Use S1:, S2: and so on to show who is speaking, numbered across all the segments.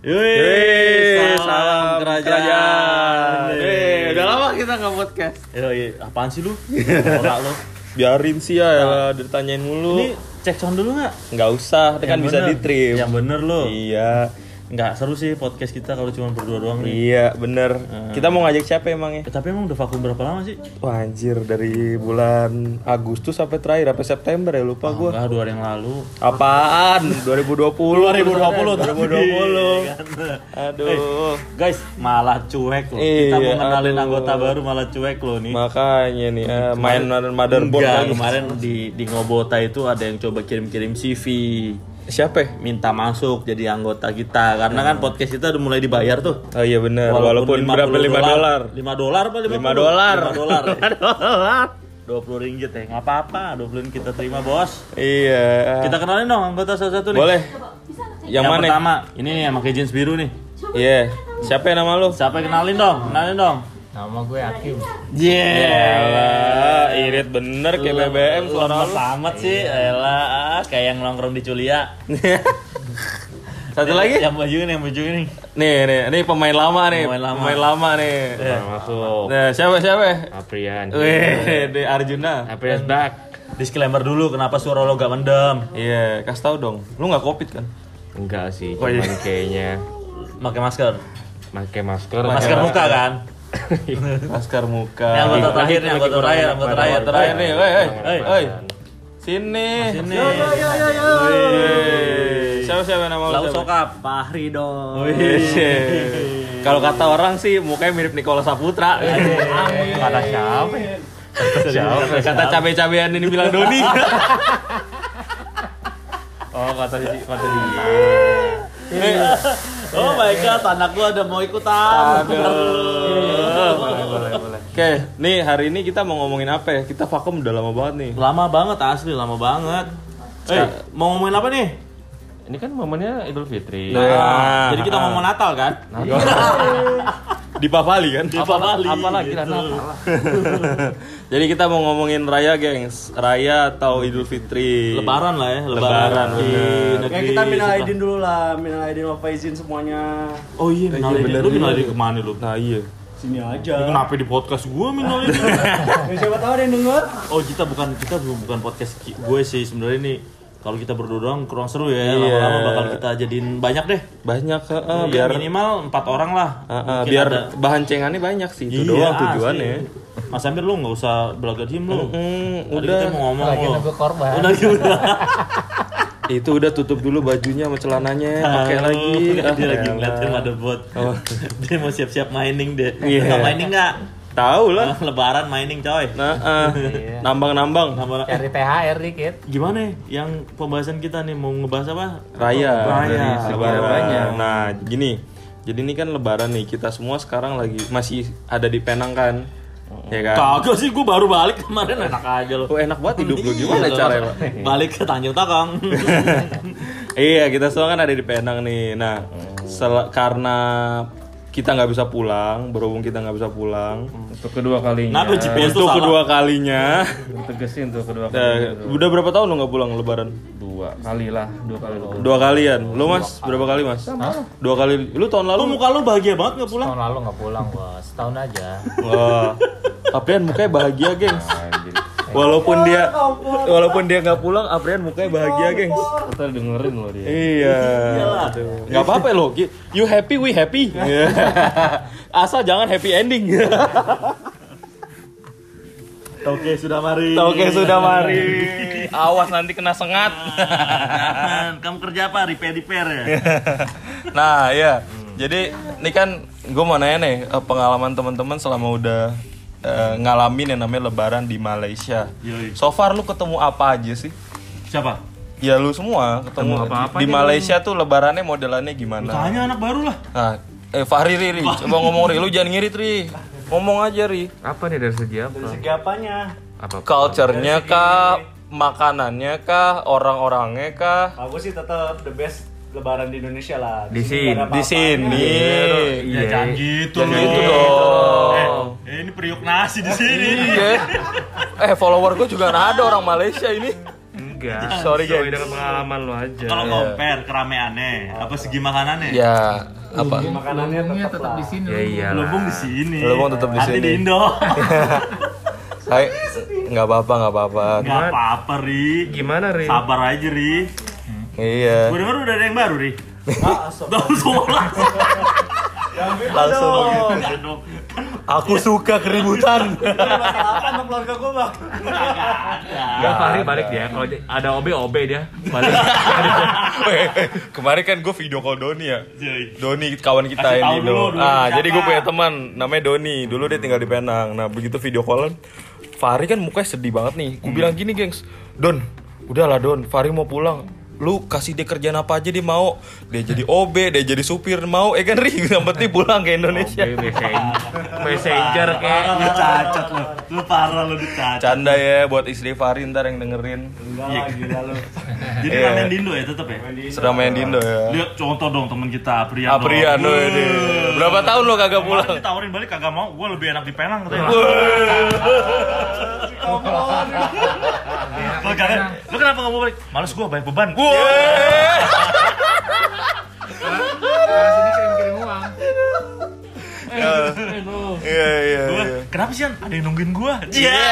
S1: Yoi,
S2: Yeay, salam kerajaan. Yeay, udah lama kita nggak podcast.
S1: Yoi, apaan sih lu? Norak lu.
S3: Biarin sih ya, ya ditanyain mulu.
S1: Nah. Ini cek sound dulu nggak?
S3: nggak usah, itu kan
S1: Yang
S3: bisa
S1: bener.
S3: ditrim.
S1: Yang bener lu.
S3: Iya.
S1: Nggak seru sih podcast kita kalau cuma berdua doang nih.
S3: Iya, ya. bener.
S1: Nah.
S3: Kita mau ngajak siapa emangnya?
S1: Eh, tapi emang udah vakum berapa lama sih?
S3: Wah, anjir dari bulan Agustus sampai terakhir sampai September ya lupa gua.
S1: Ah, Enggak, dua hari yang lalu.
S3: Apaan? 2020.
S1: 2020
S3: Iya. 2020. Aduh.
S1: Guys, malah cuek loh. Kita
S3: Iya,
S1: mau kenalin
S3: aduh.
S1: anggota baru malah cuek loh nih.
S3: Makanya nih eh, main motherboard
S1: Enggak,
S3: lagi.
S1: kemarin di di Ngobota itu ada yang coba kirim-kirim CV.
S3: Siapa? ya?
S1: minta masuk jadi anggota kita karena kan podcast kita udah mulai dibayar tuh
S3: Oh iya bener, Hmm. walaupun, berapa
S1: 50
S3: 5 dolar.
S1: 5 dolar apa 50?
S3: 5 dolar.
S1: 5 dolar.
S3: 5 dolar.
S1: 20 ringgit ya. Enggak apa-apa, 20 ringgit kita terima, Bos.
S3: Iya.
S1: Kita kenalin dong anggota satu-satu nih.
S3: Boleh. Yang, mana?
S1: pertama, ini nih yang pakai jeans biru nih.
S3: Iya. Siapa yang nama lu?
S1: Siapa yang kenalin dong? Kenalin dong.
S2: Nama gue Hakim.
S3: Yalah, irit bener kayak BBM suara
S1: Lemes
S3: lu. Iya.
S1: amat sih. Elah, ah, kayak yang nongkrong di Culia.
S3: Satu
S1: Eh,
S3: lagi.
S1: Yang baju ini, yang baju ini.
S3: Nih, nih, ini pemain lama nih.
S1: Pemain lama.
S3: nih.
S2: Masuk.
S3: Nah, siapa siapa?
S2: Aprian.
S3: Wih, di Arjuna.
S2: Aprian back.
S1: Disclaimer dulu kenapa suara lo gak mendem.
S3: Iya, kasih tau dong. Lu nggak covid kan?
S2: Enggak sih,
S3: Oh, iya.
S2: cuman kayaknya
S1: Pakai masker.
S2: pakai masker.
S1: Masker Iya. muka kan?
S3: Masker muka.
S1: Yang anggota terakhir, yang anggota terakhir, anggota terakhir, terakhir
S3: nih,
S1: nih.
S3: woi, woi,
S1: Hey,
S3: woi. Sini.
S1: Sini.
S3: Wih. Siapa siapa nama lu?
S1: Lalu
S3: siapa?
S1: sokap, Fahri dong.
S3: Wih. Kalau kata orang sih mukanya mirip Nikola Saputra.
S2: Kata siapa?
S4: ya?
S3: Kata cabe-cabean ini bilang Doni.
S2: Oh, kata si kata si.
S1: Oh my god, anak gua ada mau ikutan.
S3: Aduh. Oke, nih hari ini kita mau ngomongin apa ya? Kita vakum udah lama banget nih.
S1: Lama banget asli, lama banget. Eh, mau ngomongin apa nih?
S2: Ini kan momennya Idul Fitri.
S3: Nah,
S1: Ah, Jadi kita ngomong Natal kan?
S3: di Papali kan?
S1: Apa lagi?
S2: Apalagi
S1: Gitu.
S2: lah
S3: Jadi kita mau ngomongin raya, gengs. Raya atau Idul Fitri?
S1: Lebaran lah ya, lebaran.
S3: Lebaran,
S1: di
S3: bener.
S1: negeri.
S5: Ya kita minal
S1: sebelah.
S5: aidin dulu lah, minal aidin wal faizin semuanya.
S1: Oh iya, minal aidin.
S3: bener.
S1: Lu minal aidin kemana lu?
S3: Nah, iya.
S5: Sini aja.
S1: Kenapa di podcast gua minal aidin?
S5: Ya, siapa tahu ada yang denger.
S1: Oh kita bukan kita bu- bukan podcast ki- gue sih sebenarnya ini kalau kita berdua doang kurang seru ya
S3: Iya.
S1: lama-lama bakal kita jadiin banyak deh
S3: Banyak eh, eh,
S1: Ya,
S3: biar
S1: minimal empat orang lah
S3: eh, eh,
S1: Mungkin
S3: biar
S1: ada-
S3: bahan cengannya banyak sih itu
S1: Iya,
S3: doang
S1: asli.
S3: tujuannya.
S1: Mas Amir lu nggak usah belaga diem lu
S3: Hmm,
S1: Tadi
S3: udah.
S1: kita mau ngomong
S2: Lagi
S1: lu
S2: nunggu korban.
S1: udah gitu
S3: Itu udah tutup dulu bajunya sama celananya, pakai lagi. Ah,
S1: dia lagi
S3: elah.
S1: ngeliatin motherboard
S3: Oh.
S1: dia mau siap-siap mining deh
S3: Iya.
S1: nggak mining nggak Ah,
S3: Tahu lah.
S1: lebaran mining coy
S3: Nah, Ya. eh,
S5: Iya.
S3: nambang-nambang
S1: Nambah-
S2: Cari THR dikit.
S1: gimana ya yang pembahasan kita nih mau ngebahas apa
S3: raya,
S1: Raya.
S3: dari segi
S1: Lebaran.
S3: rayanya. Nah, gini. Jadi ini kan lebaran nih, kita semua sekarang lagi masih ada di Penang kan. Ya kan?
S1: Kagak sih, gue baru balik kemarin enak aja loh.
S3: Oh, enak banget hidup lu
S1: Iya,
S3: gimana
S1: loh.
S3: caranya, Pak?
S1: Balik ke Tanjung Takang.
S3: iya, kita semua kan ada di Penang nih. Nah,
S1: Mm.
S3: sel- karena kita nggak bisa pulang, berhubung kita nggak bisa pulang.
S4: Untuk kedua kalinya.
S1: Nah, gue GPS tuh
S3: Untuk
S1: salah.
S3: kedua kalinya.
S4: Tegesin untuk kedua
S3: Eh,
S4: kalinya.
S3: udah berapa tahun lo nggak pulang lebaran?
S4: Dua kali lah, dua kali lebih.
S3: Dua kalian. Lo Mas, berapa kali, Mas? Dua kali. Lu tahun
S1: Lu
S3: lalu
S1: muka lu bahagia banget nggak pulang?
S6: Tahun lalu nggak pulang bos, setahun aja.
S3: Wah. Aprian mukanya bahagia, gengs. Walaupun dia walaupun dia nggak pulang, Aprian mukanya bahagia, gengs.
S4: Kita dengerin loh dia.
S3: Iya. Nggak apa-apa loh. Ki- You happy, we happy. Asal jangan happy ending.
S1: Oke, sudah mari.
S3: Oke, sudah mari. Awas nanti kena sengat.
S1: Jangan, Kan, kamu kerja apa? Repair repair ya.
S3: Nah, iya. Jadi ini kan gue mau nanya nih eh, pengalaman teman-teman selama udah eh, ngalamin yang namanya lebaran di Malaysia.
S1: Yoi.
S3: So far lu ketemu apa aja sih?
S1: Siapa?
S3: Ya lu semua ketemu,
S4: apa-apa
S3: di
S4: nih,
S3: Malaysia tuh lebarannya modelannya gimana?
S1: Tanya anak baru lah.
S3: Nah, eh Fahri Ri, Ri. coba ngomong Ri, lu jangan ngirit Ri. Ngomong aja Ri.
S4: Apa nih dari segi apa?
S5: Segi apanya?
S4: Apa?
S3: Culture-nya kah, makanannya kah, orang-orangnya kah?
S5: Aku sih tetap the best lebaran di Indonesia lah.
S4: Di
S5: sini nggak ada
S3: Di sini.
S5: apa-apanya.
S4: Iya.
S1: gitu
S3: Jangan gitu dong. Eh,
S1: Eh, ini
S3: Iya,
S1: periuk nasi di sini.
S3: Oke. Eh follower gue juga nggak ada orang Malaysia ini.
S4: Enggak.
S3: Sorry,
S4: Sesuai
S3: gengs.
S4: iya. dengan pengalaman lo aja.
S1: Kalau compare keramaiannya, apa segi makanannya?
S3: Ya apa?
S5: Makanannya tetap, lah.
S7: di sini.
S4: Ya iya.
S1: Lubung di sini.
S3: Lubung tetap di
S1: Hati
S3: sini.
S1: di Indo.
S3: Hai, nggak apa-apa, nggak apa-apa.
S1: Gak apa-apa, Ri.
S4: Gimana, Ri?
S1: Sabar aja, Ri.
S3: Iya.
S1: Gue denger udah ada yang baru, Ri.
S5: Ah,
S1: Tahu sholat.
S3: Langsung.
S1: Enggak dong.
S3: Aku suka keributan.
S5: Apa sama keluarga gue bang?
S4: Enggak, Fahri balik dia. Kalau ada OB, OB dia. Balik.
S3: Eh, Kemarin kan gue video call Doni ya.
S1: Jadi,
S3: Doni kawan kita
S1: Kasih
S3: ini
S1: tahu dulu, dulu
S3: Ah,
S1: siapa.
S3: jadi gue punya teman namanya Doni. Dulu dia tinggal di Penang. Nah, begitu video callan, Fahri kan mukanya sedih banget nih.
S1: Hmm.
S3: Gue bilang gini, gengs. Don, udahlah Don, Fahri mau pulang. Lu kasih dia kerjaan apa aja dia mau. Dia jadi OB, dia jadi supir mau. Eh kan Ri, yang penting pulang ke Indonesia.
S4: Kayak messen- Messenger kayak.
S1: Lu cacat lu. Lu parah lu dicacat. Iya.
S3: Canda ya buat istri Fahri ntar yang dengerin.
S5: Enggak lah, gila lu.
S1: Jadi
S3: Iya.
S1: ramen di Indo ya tetap ya.
S3: Sedang main di Indo ya.
S1: Lihat contoh dong teman kita Aprian.
S3: Aprian
S1: dong.
S3: lo ini. Berapa tahun lo kagak
S1: Kemarin
S3: pulang?
S1: ditawarin balik kagak mau, gue lebih enak di Penang katanya. Iya. Lu kagak, lu kenapa gak mau balik? Males gue banyak beban.
S7: Nah, sini saya mikirin uang.
S3: Iya iya
S1: Gua,
S3: iya.
S1: Kenapa sih An? ada yang nungguin gue? Iya.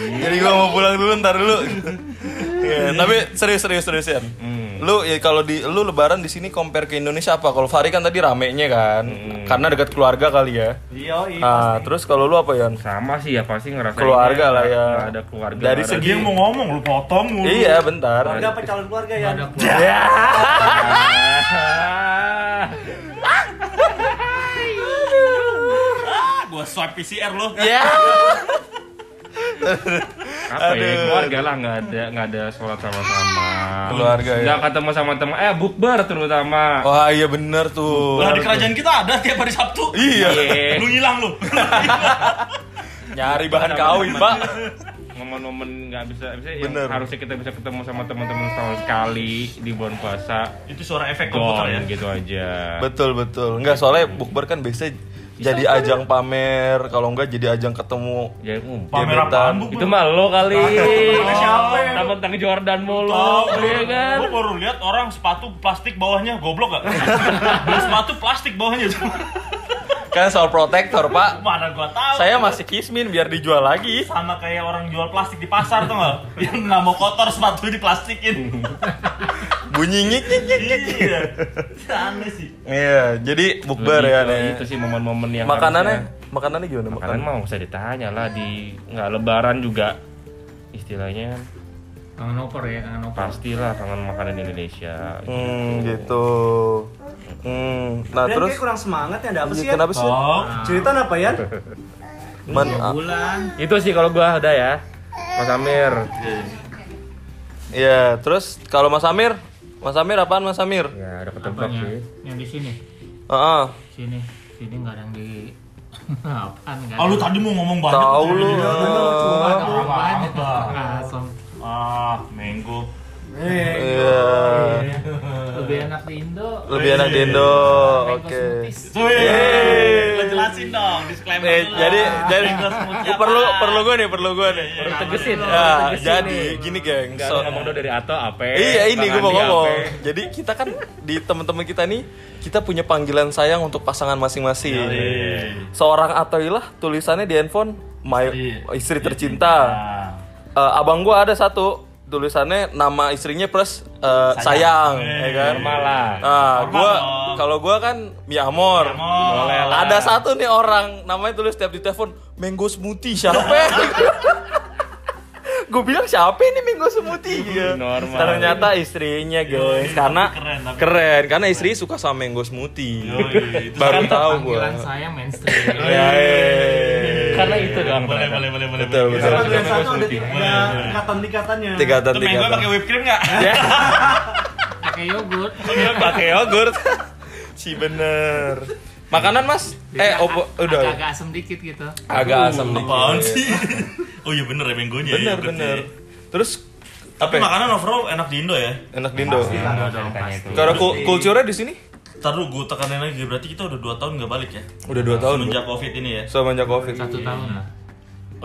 S3: Jadi gua mau pulang dulu ntar dulu. Iya, tapi serius serius serius ya. Lu ya kalau di lu lebaran di sini compare ke Indonesia apa? Kalau Fahri kan tadi ramenya kan. Karena dekat keluarga kali ya.
S5: Iya, iya.
S3: Ah, terus kalau lu apa, Yan?
S4: Sama sih ya pasti ngerasain.
S3: Keluarga lah ya.
S4: Nggak ada keluarga.
S3: Dari
S4: nggak ada-
S1: Dia yang mau ngomong, lu potong mulu.
S3: Iya, bentar.
S5: Keluarga apa calon keluarga ya?
S7: Ada keluarga.
S1: Ah, gue swipe PCR lu.
S3: Iya.
S4: apa ya
S3: Aduh.
S4: keluarga lah nggak ada nggak ada sholat sama-sama
S3: Keluarga, ya.
S4: nggak ketemu sama teman eh bukber terutama
S3: Wah, iya bener tuh.
S1: Lah di kerajaan kita ada tiap hari Sabtu.
S3: Iya.
S4: Iya.
S1: Lu ngilang lu.
S3: Nyari bahan kawin, Pak.
S4: momen-momen nggak bisa bisa yang
S3: Bener.
S4: harusnya kita bisa ketemu sama teman-teman setahun sekali di bulan puasa
S1: Itu suara efek komputer ya.
S4: gone gitu aja
S3: Betul, betul. Enggak, soalnya bukber kan biasanya jadi ajang pamer, kalau enggak jadi ajang ketemu
S4: ya um,
S1: Pamer
S3: Gebetan.
S1: apaan bu?
S4: itu mah lo kali
S1: siapa ya?
S4: Taman tentang Jordan mulu
S1: Oh,
S4: iya kan
S1: Gue baru lihat orang sepatu plastik bawahnya goblok gak? Beli sepatu plastik bawahnya.
S3: kan soal protektor, Pak.
S1: Mana gua tahu?
S3: Saya masih kismin biar dijual lagi.
S1: sama kayak orang jual plastik di pasar tuh nggak? Yang nggak mau kotor sepatu diplastikin.
S3: Bunyi ngik ngik ngik.
S1: iya. Aneh sih.
S3: Iya, jadi bukber
S4: Lebih
S3: ya
S4: ke
S3: nih.
S4: Gitu, itu sih momen-momen yang
S3: Makanannya,
S4: harusnya-
S3: makanannya gimana?
S4: makanan
S3: Makanan.
S4: mah nggak usah ditanya lah di nggak lebaran juga istilahnya kan,
S7: Kangen oper ya, kangen oper.
S4: pastilah kangen makanan Indonesia
S3: Hmm, gitu. Hmm, nah
S5: Dan
S3: terus
S5: kayak kurang semangat ya, ada apa sih ya?
S3: kenapa sih?
S1: Oh,
S5: Cerita apa ya?
S4: iya,
S3: Man, ah,
S7: Bulan.
S4: itu sih kalau gua udah ya Mas Amir
S3: ya, terus kalau Mas Amir, Mas Amir apaan Mas Amir? Ah,
S4: ya udah ketebak
S7: Apanya?
S4: sih
S7: Yang di sini.
S3: Heeh.
S7: Sini. Sini nggak ada yang di apaan nggak
S1: ah,
S7: ada.
S1: lu tadi mau ngomong banyak.
S3: Tahu
S1: tuh.
S3: lu.
S7: apaan? Asem.
S1: Ah, menggo.
S3: Iya.
S7: Lebih enak di Indo.
S3: Lebih enak di Indo. Oke.
S1: Wih, lu jelasin dong disclaimer.
S3: Eh,
S1: dulu.
S3: jadi jadi
S1: Menggo smoothie
S3: gua perlu
S1: apa?
S3: perlu gue nih, perlu gue nih.
S4: Perlu tegesin
S3: Ya, jadi gini geng.
S4: nggak
S3: So-
S4: ngomong dulu dari Ato apa
S3: Iya ini
S4: Bang
S3: gue mau
S4: Andi apa.
S3: ngomong. Jadi kita kan di teman-teman kita nih kita punya panggilan sayang untuk pasangan masing-masing. Seorang Atoilah tulisannya di handphone my
S1: Iya.
S3: istri
S4: Iya.
S3: tercinta.
S1: Ah.
S3: Eh, abang gue ada satu tulisannya nama istrinya plus eh, sayang, ya kan?
S4: normal lah
S3: Nah,
S1: Normal
S3: gua
S1: dong.
S3: kalau gue kan mi amor.
S1: Boleh lah.
S3: Ada satu nih orang namanya tulis tiap di telepon Mango Smoothie siapa? gue bilang siapa ini Mango Smoothie? Gitu.
S4: Normal.
S3: Ternyata istrinya guys, karena
S1: keren,
S3: keren,
S1: Iya, tapi-
S3: karena istri suka sama Mango Smoothie.
S1: Yoi, itu
S3: Baru
S7: Kan
S3: tahu gue.
S7: Panggilan saya mainstream.
S3: Ya, eh.
S4: karena itu doang
S1: Iya. Boleh, boleh, boleh, boleh.
S3: Betul,
S1: boleh.
S3: betul.
S5: Sama tulisan
S4: Sama
S5: satu ada
S4: Gusti.
S5: tiga ikatan-ikatannya.
S3: Tiga
S1: Itu
S3: tahun tiga
S1: menggo
S3: tahun.
S1: pakai whipped cream nggak?
S3: Iya.
S7: Pakai yogurt.
S3: Pakai yogurt. si bener. Makanan mas? Eh, opo, udah.
S7: Agak asem dikit gitu.
S3: Agak asam dikit.
S1: Apaan sih? Oh iya bener ya menggonya. ya,
S3: Iya. Bener
S1: yogurtnya
S3: bener.
S1: ya.
S3: Terus
S1: Tapi
S3: apa? ya?
S1: makanan overall enak di Indo ya.
S3: Enak di Indo.
S4: Makanya itu
S3: Karena ku- kulturnya di sini
S1: Ntar dulu gue tekanin lagi, berarti kita udah 2 tahun nggak balik ya?
S3: udah dua tahun.
S1: Semenjak covid ini ya?
S3: Semenjak covid.
S7: Satu tahun lah.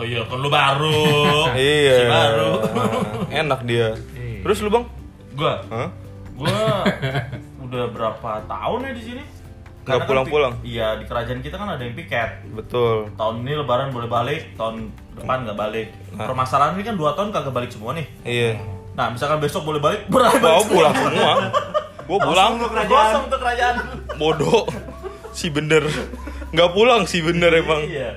S1: Oh iya, kan lu baru.
S3: Iya.
S1: Si baru. Iya.
S3: Enak dia. Terus lu bang?
S1: gua,
S3: Hah?
S1: gua udah berapa tahun ya di sini?
S3: Nggak
S1: Karena kan
S3: pulang-pulang.
S1: pi- iya, di kerajaan kita kan ada yang piket.
S3: Betul.
S1: Tahun ini lebaran boleh balik, tahun depan nggak balik.
S3: Nah.
S1: Permasalahan ini kan dua tahun kagak balik semua nih.
S3: Iya.
S1: Nah, misalkan besok boleh balik, berarti
S3: Gua
S1: balik
S3: pulang semua. Gua pulang.
S5: Langsung lu
S1: semua.
S5: kerajaan.
S1: Kosong tuh kerajaan.
S3: Bodoh. Si bener. Nggak pulang si bener emang.
S1: Iya.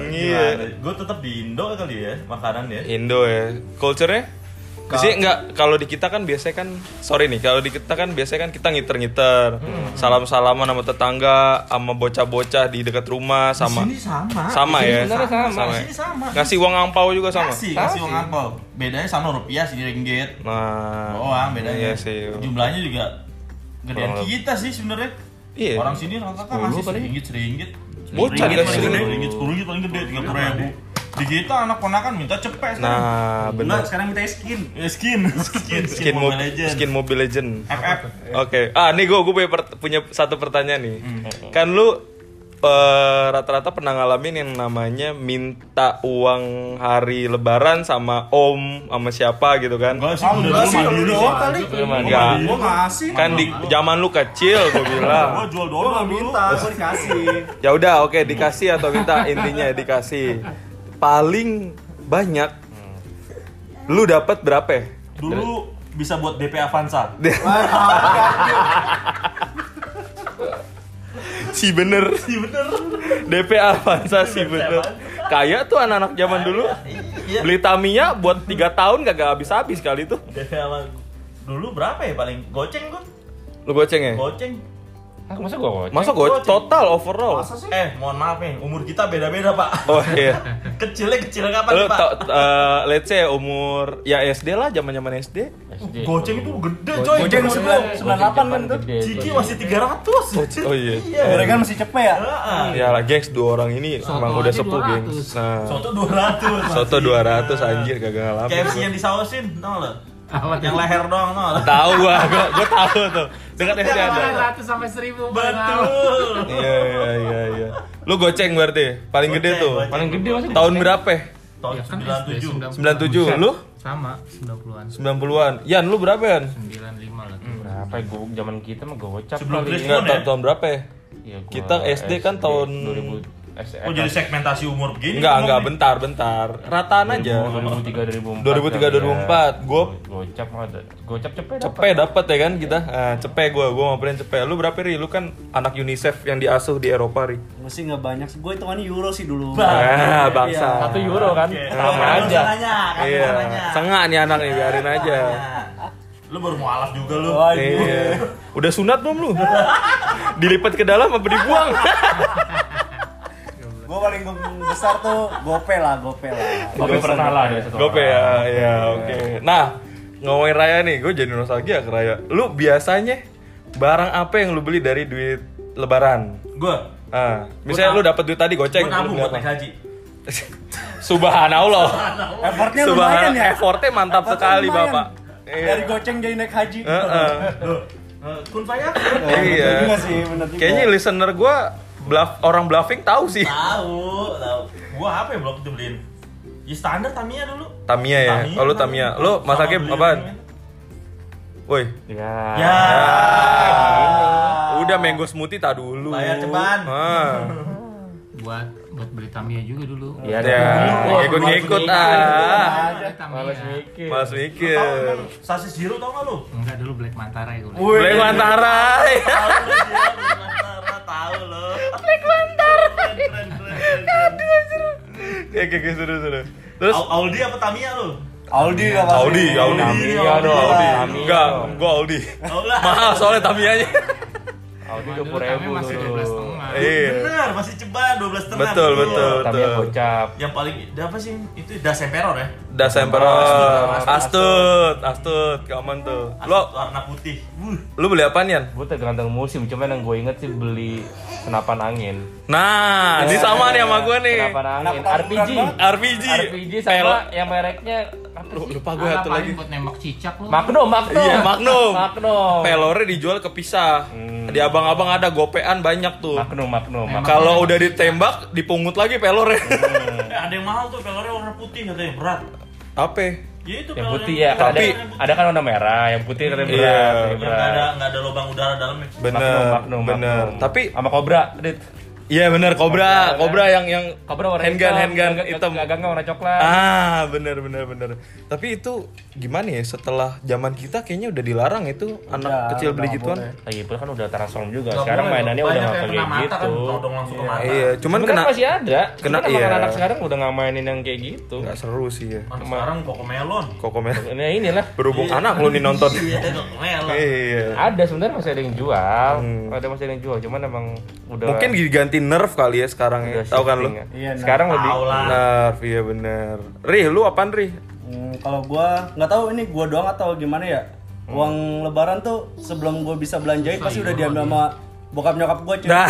S3: Iya.
S1: Gue tetap di Indo kali ya, makanan ya.
S3: Indo ya. Culture-nya? Di sini nggak, kalau di kita kan biasanya kan sorry nih kalau di kita kan biasanya kan kita ngiter-ngiter
S1: Hmm.
S3: salam salaman sama tetangga sama bocah-bocah di dekat rumah sama
S1: Ini sama.
S3: sama ya sama,
S1: Di
S3: ya?
S1: sini sama.
S3: ngasih uang angpau juga sama
S1: Kasih, kasih uang angpau. Bedanya sama rupiah sih ringgit. Doang
S3: nah
S1: Oh, ah, bedanya.
S3: iya sih
S1: Jumlahnya juga gedean
S3: Kurang lebih.
S1: kita sih sebenarnya.
S3: Iya.
S1: Orang sini rata-rata
S3: Sepuluh
S1: ngasih
S3: paling.
S1: seringgit, seringgit.
S3: Bocah
S1: Ringgit paling
S3: dikasih
S1: gede,
S3: seringgit.
S1: ringgit sepuluh ringgit paling gede tiga puluh ribu. Di kita anak ponakan minta cepet sekarang.
S3: nah
S5: Enggak,
S3: benar
S5: sekarang minta skin.
S1: Ya, skin, skin,
S3: skin, mo- skin Mobile Legend
S1: FF.
S3: Oke, ah nih gue punya, per- punya satu pertanyaan nih. Kan lu eh, rata-rata pernah ngalamin yang namanya minta uang hari Lebaran sama Om, sama siapa gitu kan?
S1: Enggak sih, udah
S5: Iya,
S1: dulu mandiri.
S5: lu doang kali.
S3: Enggak.
S5: Gua ngasih.
S3: Kan di zaman lu kecil
S1: Gua
S3: gue bilang.
S1: jual
S5: Gua
S1: doang
S5: nggak
S1: dulu.
S5: minta, gua dikasih.
S3: Ya udah, oke dikasih atau minta intinya dikasih. Paling banyak lu dapat berapa? ya?
S1: Dulu bisa buat DP Avanza.
S3: Si bener. Si bener. DP Avanza si bener. Kayak tuh anak-anak zaman dulu.
S1: Iya.
S3: Beli Tamiya buat 3 tahun kagak habis-habis kali tuh.
S1: DP Avanza. Dulu berapa ya paling? Goceng gua.
S3: Lu goceng ya?
S1: Goceng.
S4: Hah, Ah, masa gua goceng?
S3: Masa go total overall?
S1: Eh, mohon maaf nih, umur kita beda-beda, Pak.
S3: Oh iya.
S1: Kecilnya kecil kapan,
S3: Lu
S1: nih, Pak?
S3: tau, eh, let's say umur ya SD lah, zaman-zaman SD.
S7: SD.
S1: Goceng itu gede, coy.
S5: Goceng
S1: sebelum.
S5: sembilan- 98 kan tuh.
S7: Gede,
S1: Ciki
S7: gede.
S1: masih 300.
S3: Oh, oh iya.
S5: Gorengan masih cepet ya?
S1: Heeh.
S3: Ya lah, gengs dua orang ini
S7: Soto
S3: emang udah
S7: aja
S3: sepuh,
S7: 200.
S3: gengs. Nah,
S1: Soto 200.
S3: soto 200 anjir kagak ngalamin.
S1: KFC
S3: gua.
S1: yang disausin, tau lo?
S7: Apa
S1: Yang leher doang, tau lo?
S3: Tahu gua, gua, gua tahu tuh. Dekat SD ada.
S7: 100 sampai 1000
S1: Betul.
S3: Iya iya iya iya. Lu goceng berarti paling gede
S1: Goceng,
S3: tuh.
S1: goceng.
S4: Paling gede masa gua
S3: Tahun
S4: goceng?
S3: berapa?
S1: Tahun
S7: Ya kan SD
S1: 97.
S3: 97. Lu
S7: Sama 90-an.
S3: 90-an. Yan, lu berapa, Yan?
S7: 95 lah.
S1: Hmm.
S4: Berapa ya? Gua- zaman kita mah gocap
S1: Sebelum
S4: kali.
S1: Grace
S3: Enggak
S1: Mon,
S3: tahun,
S1: ya?
S3: tahun berapa ya?
S4: Ya, gua
S3: Kita SD kan tahun
S4: 2000 SD.
S1: Oh, jadi segmentasi umur begini.
S3: Enggak,
S1: ngomong
S3: enggak,
S1: nih.
S3: bentar, bentar. Rataan aja.
S4: 2003
S3: 2003, 2004.
S4: 2004.
S3: Gua-
S4: kan, iya. gocap mah ada. Gocap cepet
S3: Cepe dapat ya kan kita? Ah, cepe gua, gua mau pengen cepe. Lu berapa, Ri? Lu kan anak UNICEF yang diasuh di Eropa, Ri.
S5: Gua sih nggak banyak sih. Gua hitungannya euro sih dulu.
S3: Ah, bangsa.
S4: Satu euro kan? Sama aja.
S1: kan?
S3: Iya. Sengak nih anak nih, biarin aja.
S1: Lu baru mualaf juga lu.
S3: Iya. Udah sunat belum lu? Dilipat ke dalam apa dibuang?
S5: Gua paling besar tuh gope lah, gope lah.
S4: Tapi pernah lah ada satu.
S3: Gope ya, ya oke. Nah, ngomongin Raya nih, gue jadi nostalgia ke Raya. Lu biasanya barang apa yang lu beli dari duit lebaran?
S1: Gua,
S3: Ah, misalnya lu dapat duit tadi goceng.
S1: gua nabung
S3: lu beli
S1: buat naik
S3: apa?
S1: haji.
S3: Subhanallah.
S5: Effortnya lumayan
S3: Subhanallah.
S5: ya.
S3: Effortnya mantap
S5: Effortnya
S3: sekali,
S5: lumayan.
S3: Bapak. Iya.
S5: Dari goceng jadi naik haji.
S3: Heeh.
S1: Eh, Kun saya
S5: Eh, bener
S3: Iya.
S5: juga sih, bener juga.
S1: Iya.
S3: Kayaknya listener gua bluff, orang bluffing tahu sih.
S1: tahu, tahu. Gua apa ya belum dibeliin? Ya standar Tamiya dulu.
S3: Tamia ya.
S1: Tamiya, kan
S3: Oh, lu Tamia. Lu
S1: Sama
S3: Mas Hakim
S1: beliin
S3: apaan? Woi,
S4: Ya.
S1: Ya.
S3: udah mango smoothie tak dulu.
S1: Bayar ceban.
S3: Ah.
S7: Buat buat beli Tamiya juga dulu.
S4: Ya,
S3: Ya, ngikut-ngikut ah.
S7: Beli Tamiya.
S4: Males mikir.
S3: Mas mikir.
S1: Tahu kan, Sasis Zero tau gak lu?
S7: Enggak dulu Black Mantara ya gue. beli.
S3: Black Mantara.
S1: Tahu lu dia, Black Mantara, tahu lu. Black Mantara.
S3: Ya kayak gitu seru seru. Terus
S1: Audi apa Tamiya lu?
S5: Aldi lah pasti.
S3: Audi, Audi. Iya,
S4: Tamiya dong.
S3: Audi.
S4: Tamiya.
S3: Enggak, gua Audi.
S1: Aula.
S3: Mahal soalnya Tamianya.
S4: Audi
S7: Zaman dulu
S4: 20
S7: Tamiya
S4: ribu
S7: masih 12,5.
S3: Iya.
S1: Bener, masih ceban 12 tengah.
S3: Betul,
S1: dulu.
S3: betul.
S4: Tamiya gocap.
S1: Yang paling apa sih? Itu Das Emperor ya?
S3: Das Emperor, astut, astut, keaman tuh. Lo,
S1: warna putih. Wuh.
S3: lu beli apaan Yan?
S4: Gue tergantung musim, cuman yang gue inget sih beli senapan angin. Iya.
S3: Nah, ini sama nih sama gue nih.
S4: Senapan angin,
S5: Kenapa
S4: RPG.
S5: bukan banget?
S3: RPG,
S4: RPG sama yang mereknya
S3: Aduh, lupa gue
S7: Alah,
S3: satu
S7: paling
S3: lagi.
S7: buat nembak cicak lu.
S4: Magnum, Magnum.
S3: Iya, Magnum. Hmm.
S4: Magnum.
S3: Pelore dijual kepisah. Di abang-abang ada gopean banyak tuh.
S4: Magnum, Magnum. Magnum.
S3: Kalau udah ditembak, dipungut lagi pelore.
S1: Eh, ada yang mahal tuh pelornya warna putih katanya berat.
S3: Apa?
S1: Ya itu
S4: Yang
S1: pelor
S4: putih ya, kan
S3: Tapi-
S4: ada, ada kan warna merah, yang putih kan
S3: Iya.
S4: berat, yang
S1: Yang
S4: berat.
S1: nggak ada nggak ada lubang udara dalamnya.
S3: Bener, bener. Tapi
S4: sama kobra, dit.
S3: iya bener kobra, kobra yang yang
S4: Kobra warna
S3: handgun,
S4: hitam,
S3: handgun
S4: gag-
S3: hitam.
S4: Gagangnya warna coklat.
S3: Ah, bener bener bener. Tapi itu gimana ya setelah zaman kita kayaknya udah dilarang itu anak kecil beli gituan.
S4: Lagi pula kan udah transform juga.
S7: Nggak
S4: Sekarang
S7: boleh,
S4: mainannya udah
S7: banyak
S4: nggak
S7: yang
S4: kayak
S7: kena mata
S4: gitu.
S7: kan, todong langsung ke mata.
S3: Iya, cuman
S4: Cuman
S3: kena
S4: kan masih ada.
S3: kena-
S4: Cuman emang
S3: iya.
S4: anak sekarang udah nggak mainin yang kayak gitu.
S3: nggak seru sih ya.
S1: Orang sekarang koko melon.
S3: Kokomen.
S4: Nah inilah.
S3: Berhubung anak lu nih nonton.
S1: Koko melon.
S3: Iya.
S4: Ada sebenarnya masih ada yang jual, ada masih ada yang jual, cuman emang udah
S3: Hmm. Mungkin diganti nerf kali ya sekarang ya.
S4: udah
S3: Tahu kan lu?
S4: shifting ya.
S5: Iya, nah,
S4: Sekarang lebih
S1: Tahu lah.
S3: Nerf, iya bener. Rih, lu apaan Rih?
S5: Hmm, kalau gua nggak tahu ini gua doang atau gimana ya. Uang lebaran tuh sebelum gua bisa belanjain pasti udah diambil sama bokap nyokap gua cuy.
S3: Nah,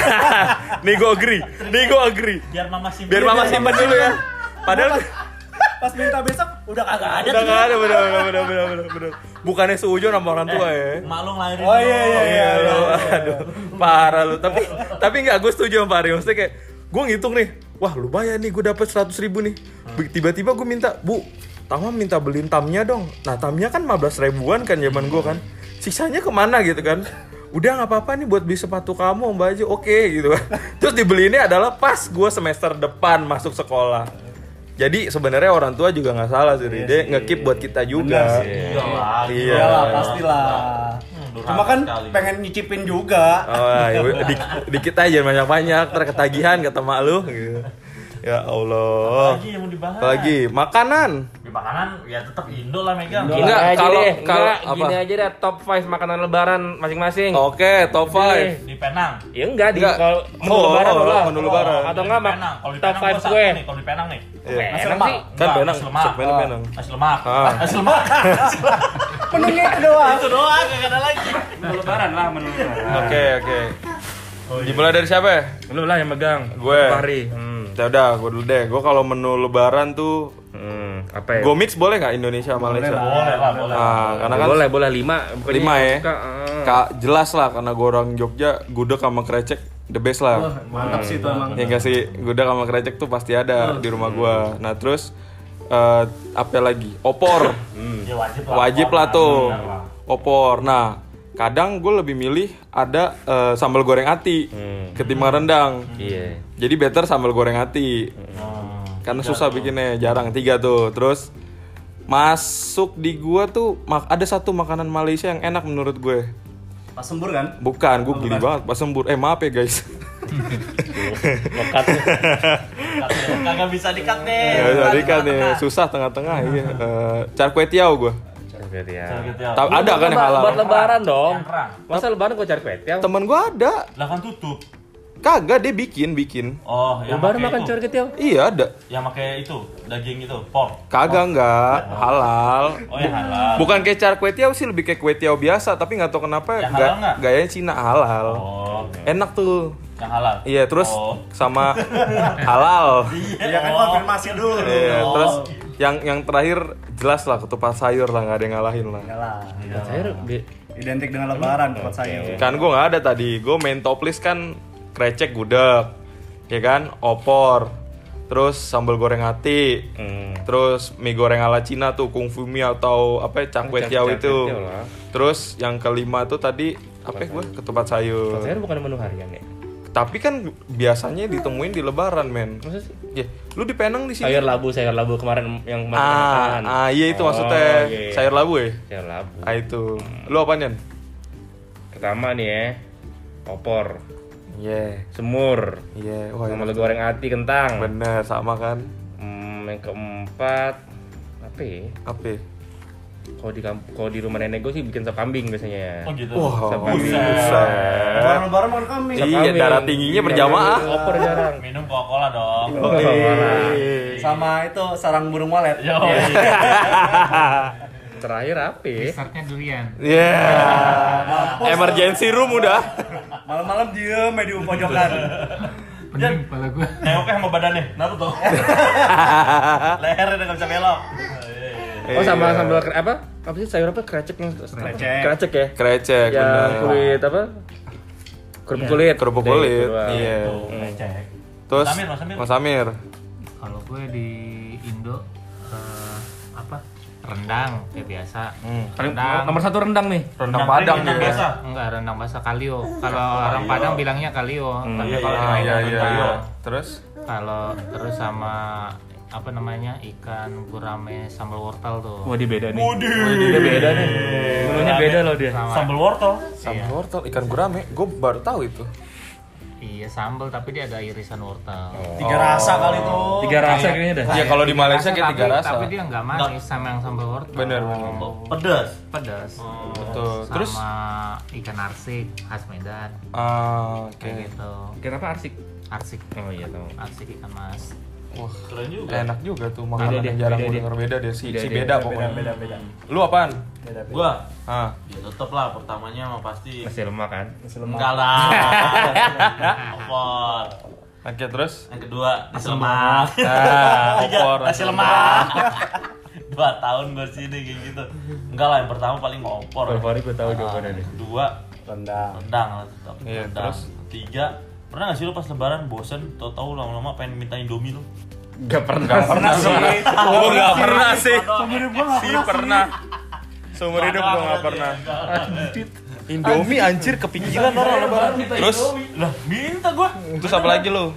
S3: nih gua agree. Nih gua agree.
S1: Biar mama simpen.
S3: Biar mama simpen dulu ya. Padahal
S5: Pas minta besok udah kagak ada.
S3: udah nggak ada bener bener bener bener bener bener. Bukannya seujung sama orang tua ya.
S1: Mak lu ngelahirin.
S5: Oh iya iya iya.
S3: Iya lu, aduh, parah lu. Tapi tapi nggak gue setuju sama Pak Ari. Maksudnya kayak gue ngitung nih, wah lumayan nih gue dapet 100 ribu nih. Bi- Tiba-tiba gue minta, bu, Tama minta beliin tamnya dong. Nah tamnya kan 15 ribuan kan zaman gue kan. Sisanya kemana gitu kan? Udah nggak apa-apa nih buat beli sepatu kamu Mbak Aji. Oke gitu kan. Terus dibeliinnya adalah pas gue semester depan masuk sekolah. Jadi sebenarnya orang tua juga nggak salah Iya sih, Ri. dia ngekip buat kita juga.
S1: Iya lah.
S3: Iya.
S5: Iya lah pastilah.
S1: Hmm, durhaka
S5: Cuma kan
S1: sekali.
S5: pengen nyicipin juga.
S3: Oh, ya, di- dikit aja jangan banyak-banyak, ntar ketagihan kata mak lu gitu. Ya Allah.
S1: Lagi yang mau dibahas.
S3: Apalagi makanan.
S1: Di makanan ya tetap Indo lah megang.
S4: Gini
S3: Enggak,
S4: aja
S3: kalau-
S4: deh,
S3: kalau-
S4: enggak,
S3: apa?
S4: gini aja deh top 5 makanan lebaran masing-masing.
S3: Oke, top 5.
S1: Di Penang.
S4: Ya enggak, di
S3: Enggak.
S4: kalau menu
S3: Oh,
S4: lebaran
S3: oh,
S4: dulu lah.
S3: menu lebaran.
S4: Atau enggak
S1: Di
S4: mak
S1: Penang. Kalau di
S4: top
S1: Penang gua
S4: 5
S1: satu
S4: gue.
S1: nih, kalau di Penang nih.
S3: Iya.
S4: Enak
S5: Nasi
S4: sih.
S5: lemak.
S3: Kan
S1: Enggak,
S3: Benang,
S1: nasi lemak.
S3: Sok Benang, Benang.
S1: Nasi lemak.
S3: Ah.
S1: Nasi lemak. Nasi lemak.
S5: Menunya itu doang.
S1: Itu doang, gak ada lagi.
S2: lebaran lah menu lebaran.
S3: Oke, oke. Dimulai dari siapa? ya?
S4: Lu lah yang megang.
S3: Gue.
S4: Fahri. Hmm.
S3: Ya udah, gue dulu deh. Gue kalau menu lebaran tuh
S4: Hmm, apa ya?
S3: Gue mix boleh nggak Indonesia Malaysia?
S1: Boleh lah, boleh. ah.
S3: Nah, karena kan
S4: boleh, boleh 5.
S3: lima ya. Ka, jelas lah karena gue orang Jogja, gudeg sama krecek the best lah.
S5: Wah, Mantap sih itu emang.
S3: yang kasih gudeg sama krecek tuh pasti ada di rumah gua. Nah terus eh, apa lagi? Opor.
S1: Ya wajib lah.
S3: Wajib lah tuh. Opor. Nah kadang gue lebih milih ada eh, sambal goreng ati
S1: Hmm.
S3: ketimbang rendang.
S4: Iya.
S3: Jadi better sambal goreng ati. Karena susah bikinnya, jarang tiga tuh. Terus masuk di gua tuh mak- ada satu makanan Malaysia yang enak menurut gue.
S5: Pas sembur kan?
S3: Bukan, gue geli banget pas sembur. Eh maaf ya guys.
S4: Lokat.
S1: Kagak bisa dikat nih.
S3: Ya, tadi kan ya, susah tengah-tengah iya. Eh, char kway tiao gue.
S4: Berarti ya.
S3: Ta- ada kan yang halal. Iya.
S4: Buat lebaran dong.
S1: Yang kerang.
S4: Masa lebaran gue cari kue tiaw?
S3: Temen gue ada.
S1: Lah kan tutup.
S3: Kagak dia bikin bikin.
S1: Oh, yang
S4: Lebaran
S1: pakai
S4: makan
S1: itu.
S4: Kan cari kue tiaw?
S3: Iya ada.
S1: Yang pakai itu, daging itu, pork.
S3: Kagak nggak halal.
S1: iya. Oh, yang halal.
S3: Bukan kayak char kway tiao sih lebih kayak kue tiao biasa tapi nggak tahu
S1: Yang
S3: kenapa ga-
S1: Ya, halal nggak?
S3: gayanya Cina halal.
S1: Oh,
S3: Enak tuh.
S1: yang halal.
S3: Iya terus
S1: Oh.
S3: sama halal.
S5: Iya kan konfirmasi dulu.
S3: Iya, terus
S1: oh.
S3: yang yang terakhir jelas lah ketupat sayur lah nggak ada yang ngalahin lah.
S5: Ya lah.
S4: Saya di-
S5: Identik dengan lebaran buat saya.
S3: Kan gue nggak ada tadi. Gue main top list kan krecek gudeg, ya kan, opor, terus sambal goreng ati,
S4: Hmm.
S3: terus mie goreng ala Cina tuh kung fu mie atau apa ya, cakwe
S4: Cak-
S3: tiao
S4: cakwe
S3: itu.
S4: tiao lah.
S3: Terus yang kelima tuh tadi apa gue ketupat sayur.
S4: Saya bukan menu harian ya.
S3: Tapi kan biasanya ditemuin di Lebaran men.
S4: Masa sih?
S3: Ya, lu di Penang di sini.
S4: Sayur labu, sayur labu kemarin yang kemarin
S3: Ah,
S4: makan.
S3: ah, iya itu
S4: Oh,
S3: maksudnya
S4: iya. Hmm.
S3: sayur labu ya.
S4: Sayur labu.
S3: Ah itu. Lu apa Nian?
S4: Pertama nih ya. Opor,
S3: Iya,
S4: semur,
S3: iya, wah
S4: sama lu goreng ati kentang.
S3: bener sama kan.
S4: Hmm, yang keempat apa ya?
S3: Apa? ya?
S4: Kalau di kamp- kalau di rumah nenek gue sih bikin sop kambing biasanya.
S1: Oh gitu.
S3: Wah,
S4: Buset.
S3: buset.
S5: Lebaran lebaran makan kami.
S3: Iya, darah tingginya berjamaah.
S4: Opor jarang.
S1: Minum Coca-Cola dong.
S4: Iya.
S5: Oke.
S3: Oke.
S5: Sama itu sarang burung walet.
S1: Yo.
S8: iya.
S4: Terakhir apa? ya?
S7: Dessertnya durian.
S3: Iya. Oh, Emergency room udah.
S5: Nah, Malam-malam diem aja di kan. pojokan.
S7: Pening kepala gua.
S1: Nengoknya sama badannya. Naruto. Lehernya udah nggak bisa belok.
S8: Oh sama
S3: Iya.
S8: sambal kre- apa? Apa sih sayur apa krecek yang
S5: Krecek.
S8: Krecek ya.
S3: Krecek
S1: Iya.
S8: Yang
S3: bener.
S8: kulit apa? Kerupuk kulit.
S3: Iya, Kerupuk
S8: Deh, gitu.
S3: kulit.
S8: itu doang.
S3: Iya. Terus
S1: Mas Amir, Mas Amir.
S3: Mas Amir.
S7: Kalau gue di Indo eh, apa? Rendang kayak biasa.
S3: Hmm.
S8: Paling- Nomor satu rendang nih.
S3: Rendang Padang
S1: yang
S3: juga.
S1: biasa.
S7: Enggak, rendang bahasa kalio. Kalau orang Padang bilangnya kalio, tapi
S3: Iya,
S7: kalau
S3: iya,
S7: orang
S3: iya,
S7: Padang
S3: iya.
S7: rendang.
S3: Terus
S7: Kalau terus sama apa namanya? ikan gurame sambal wortel tuh.
S4: Wah, dia beda nih.
S8: Dia beda nih. Menunya beda loh dia.
S1: Sambal wortel.
S3: sambal wortel ikan gurame, gue baru tahu itu.
S7: Iya, sambal tapi dia ada irisan wortel.
S5: Tiga rasa kali tuh.
S8: Tiga rasa kayaknya dah.
S3: Iya, kalau di Malaysia kayak
S7: tapi,
S3: tiga rasa.
S7: Tapi dia nggak manis sama yang sambal wortel.
S3: Bener, bener.
S1: Oh. Pedas.
S7: Pedas.
S3: Betul.
S7: Sama
S3: Terus
S7: ikan arsik khas Medan
S3: ah, oke.
S7: kayak gitu.
S8: Kenapa arsik?
S7: Arsik.
S8: Oh iya tahu.
S7: Arsik ikan mas.
S3: Wah, keren juga. Enak juga tuh makanan
S8: Beda deh,
S3: yang jarang
S8: beda
S3: gue
S8: deh.
S3: denger beda deh si,
S8: Beda
S3: si
S8: deh,
S3: beda pokoknya. Beda, beda, Lu apaan?
S1: Gua
S3: Ah,
S1: ya tetep lah pertamanya mah pasti
S8: Masih lemak kan?
S1: enggak lah. Opor.
S3: oke terus.
S1: Yang kedua nasi lemak.
S3: Ah,
S1: Tiga,
S3: opor.
S1: nasi lemak. Dua tahun gue sini kayak gitu. Enggak lah yang pertama paling opor.
S8: Favorit gue tahu jawabannya nih.
S1: Kedua
S5: Rendang.
S1: rendang lah tetap.
S3: Iya,
S1: rendang.
S3: terus?
S1: Tiga pernah gak sih lo pas lebaran bosen tau tau lama-lama pengen minta indomie lo
S8: Gak pernah.
S5: Pernah sih.
S3: Gue Oh, nggak pernah sih.
S5: Seumur hidup gua nggak
S3: Sih pernah. Seumur hidup gue nggak pernah. Indomie anjir kepikiran
S1: Kan,
S3: orang Iya, lebaran. Terus,
S1: lah minta gua
S3: terus apa lagi lu?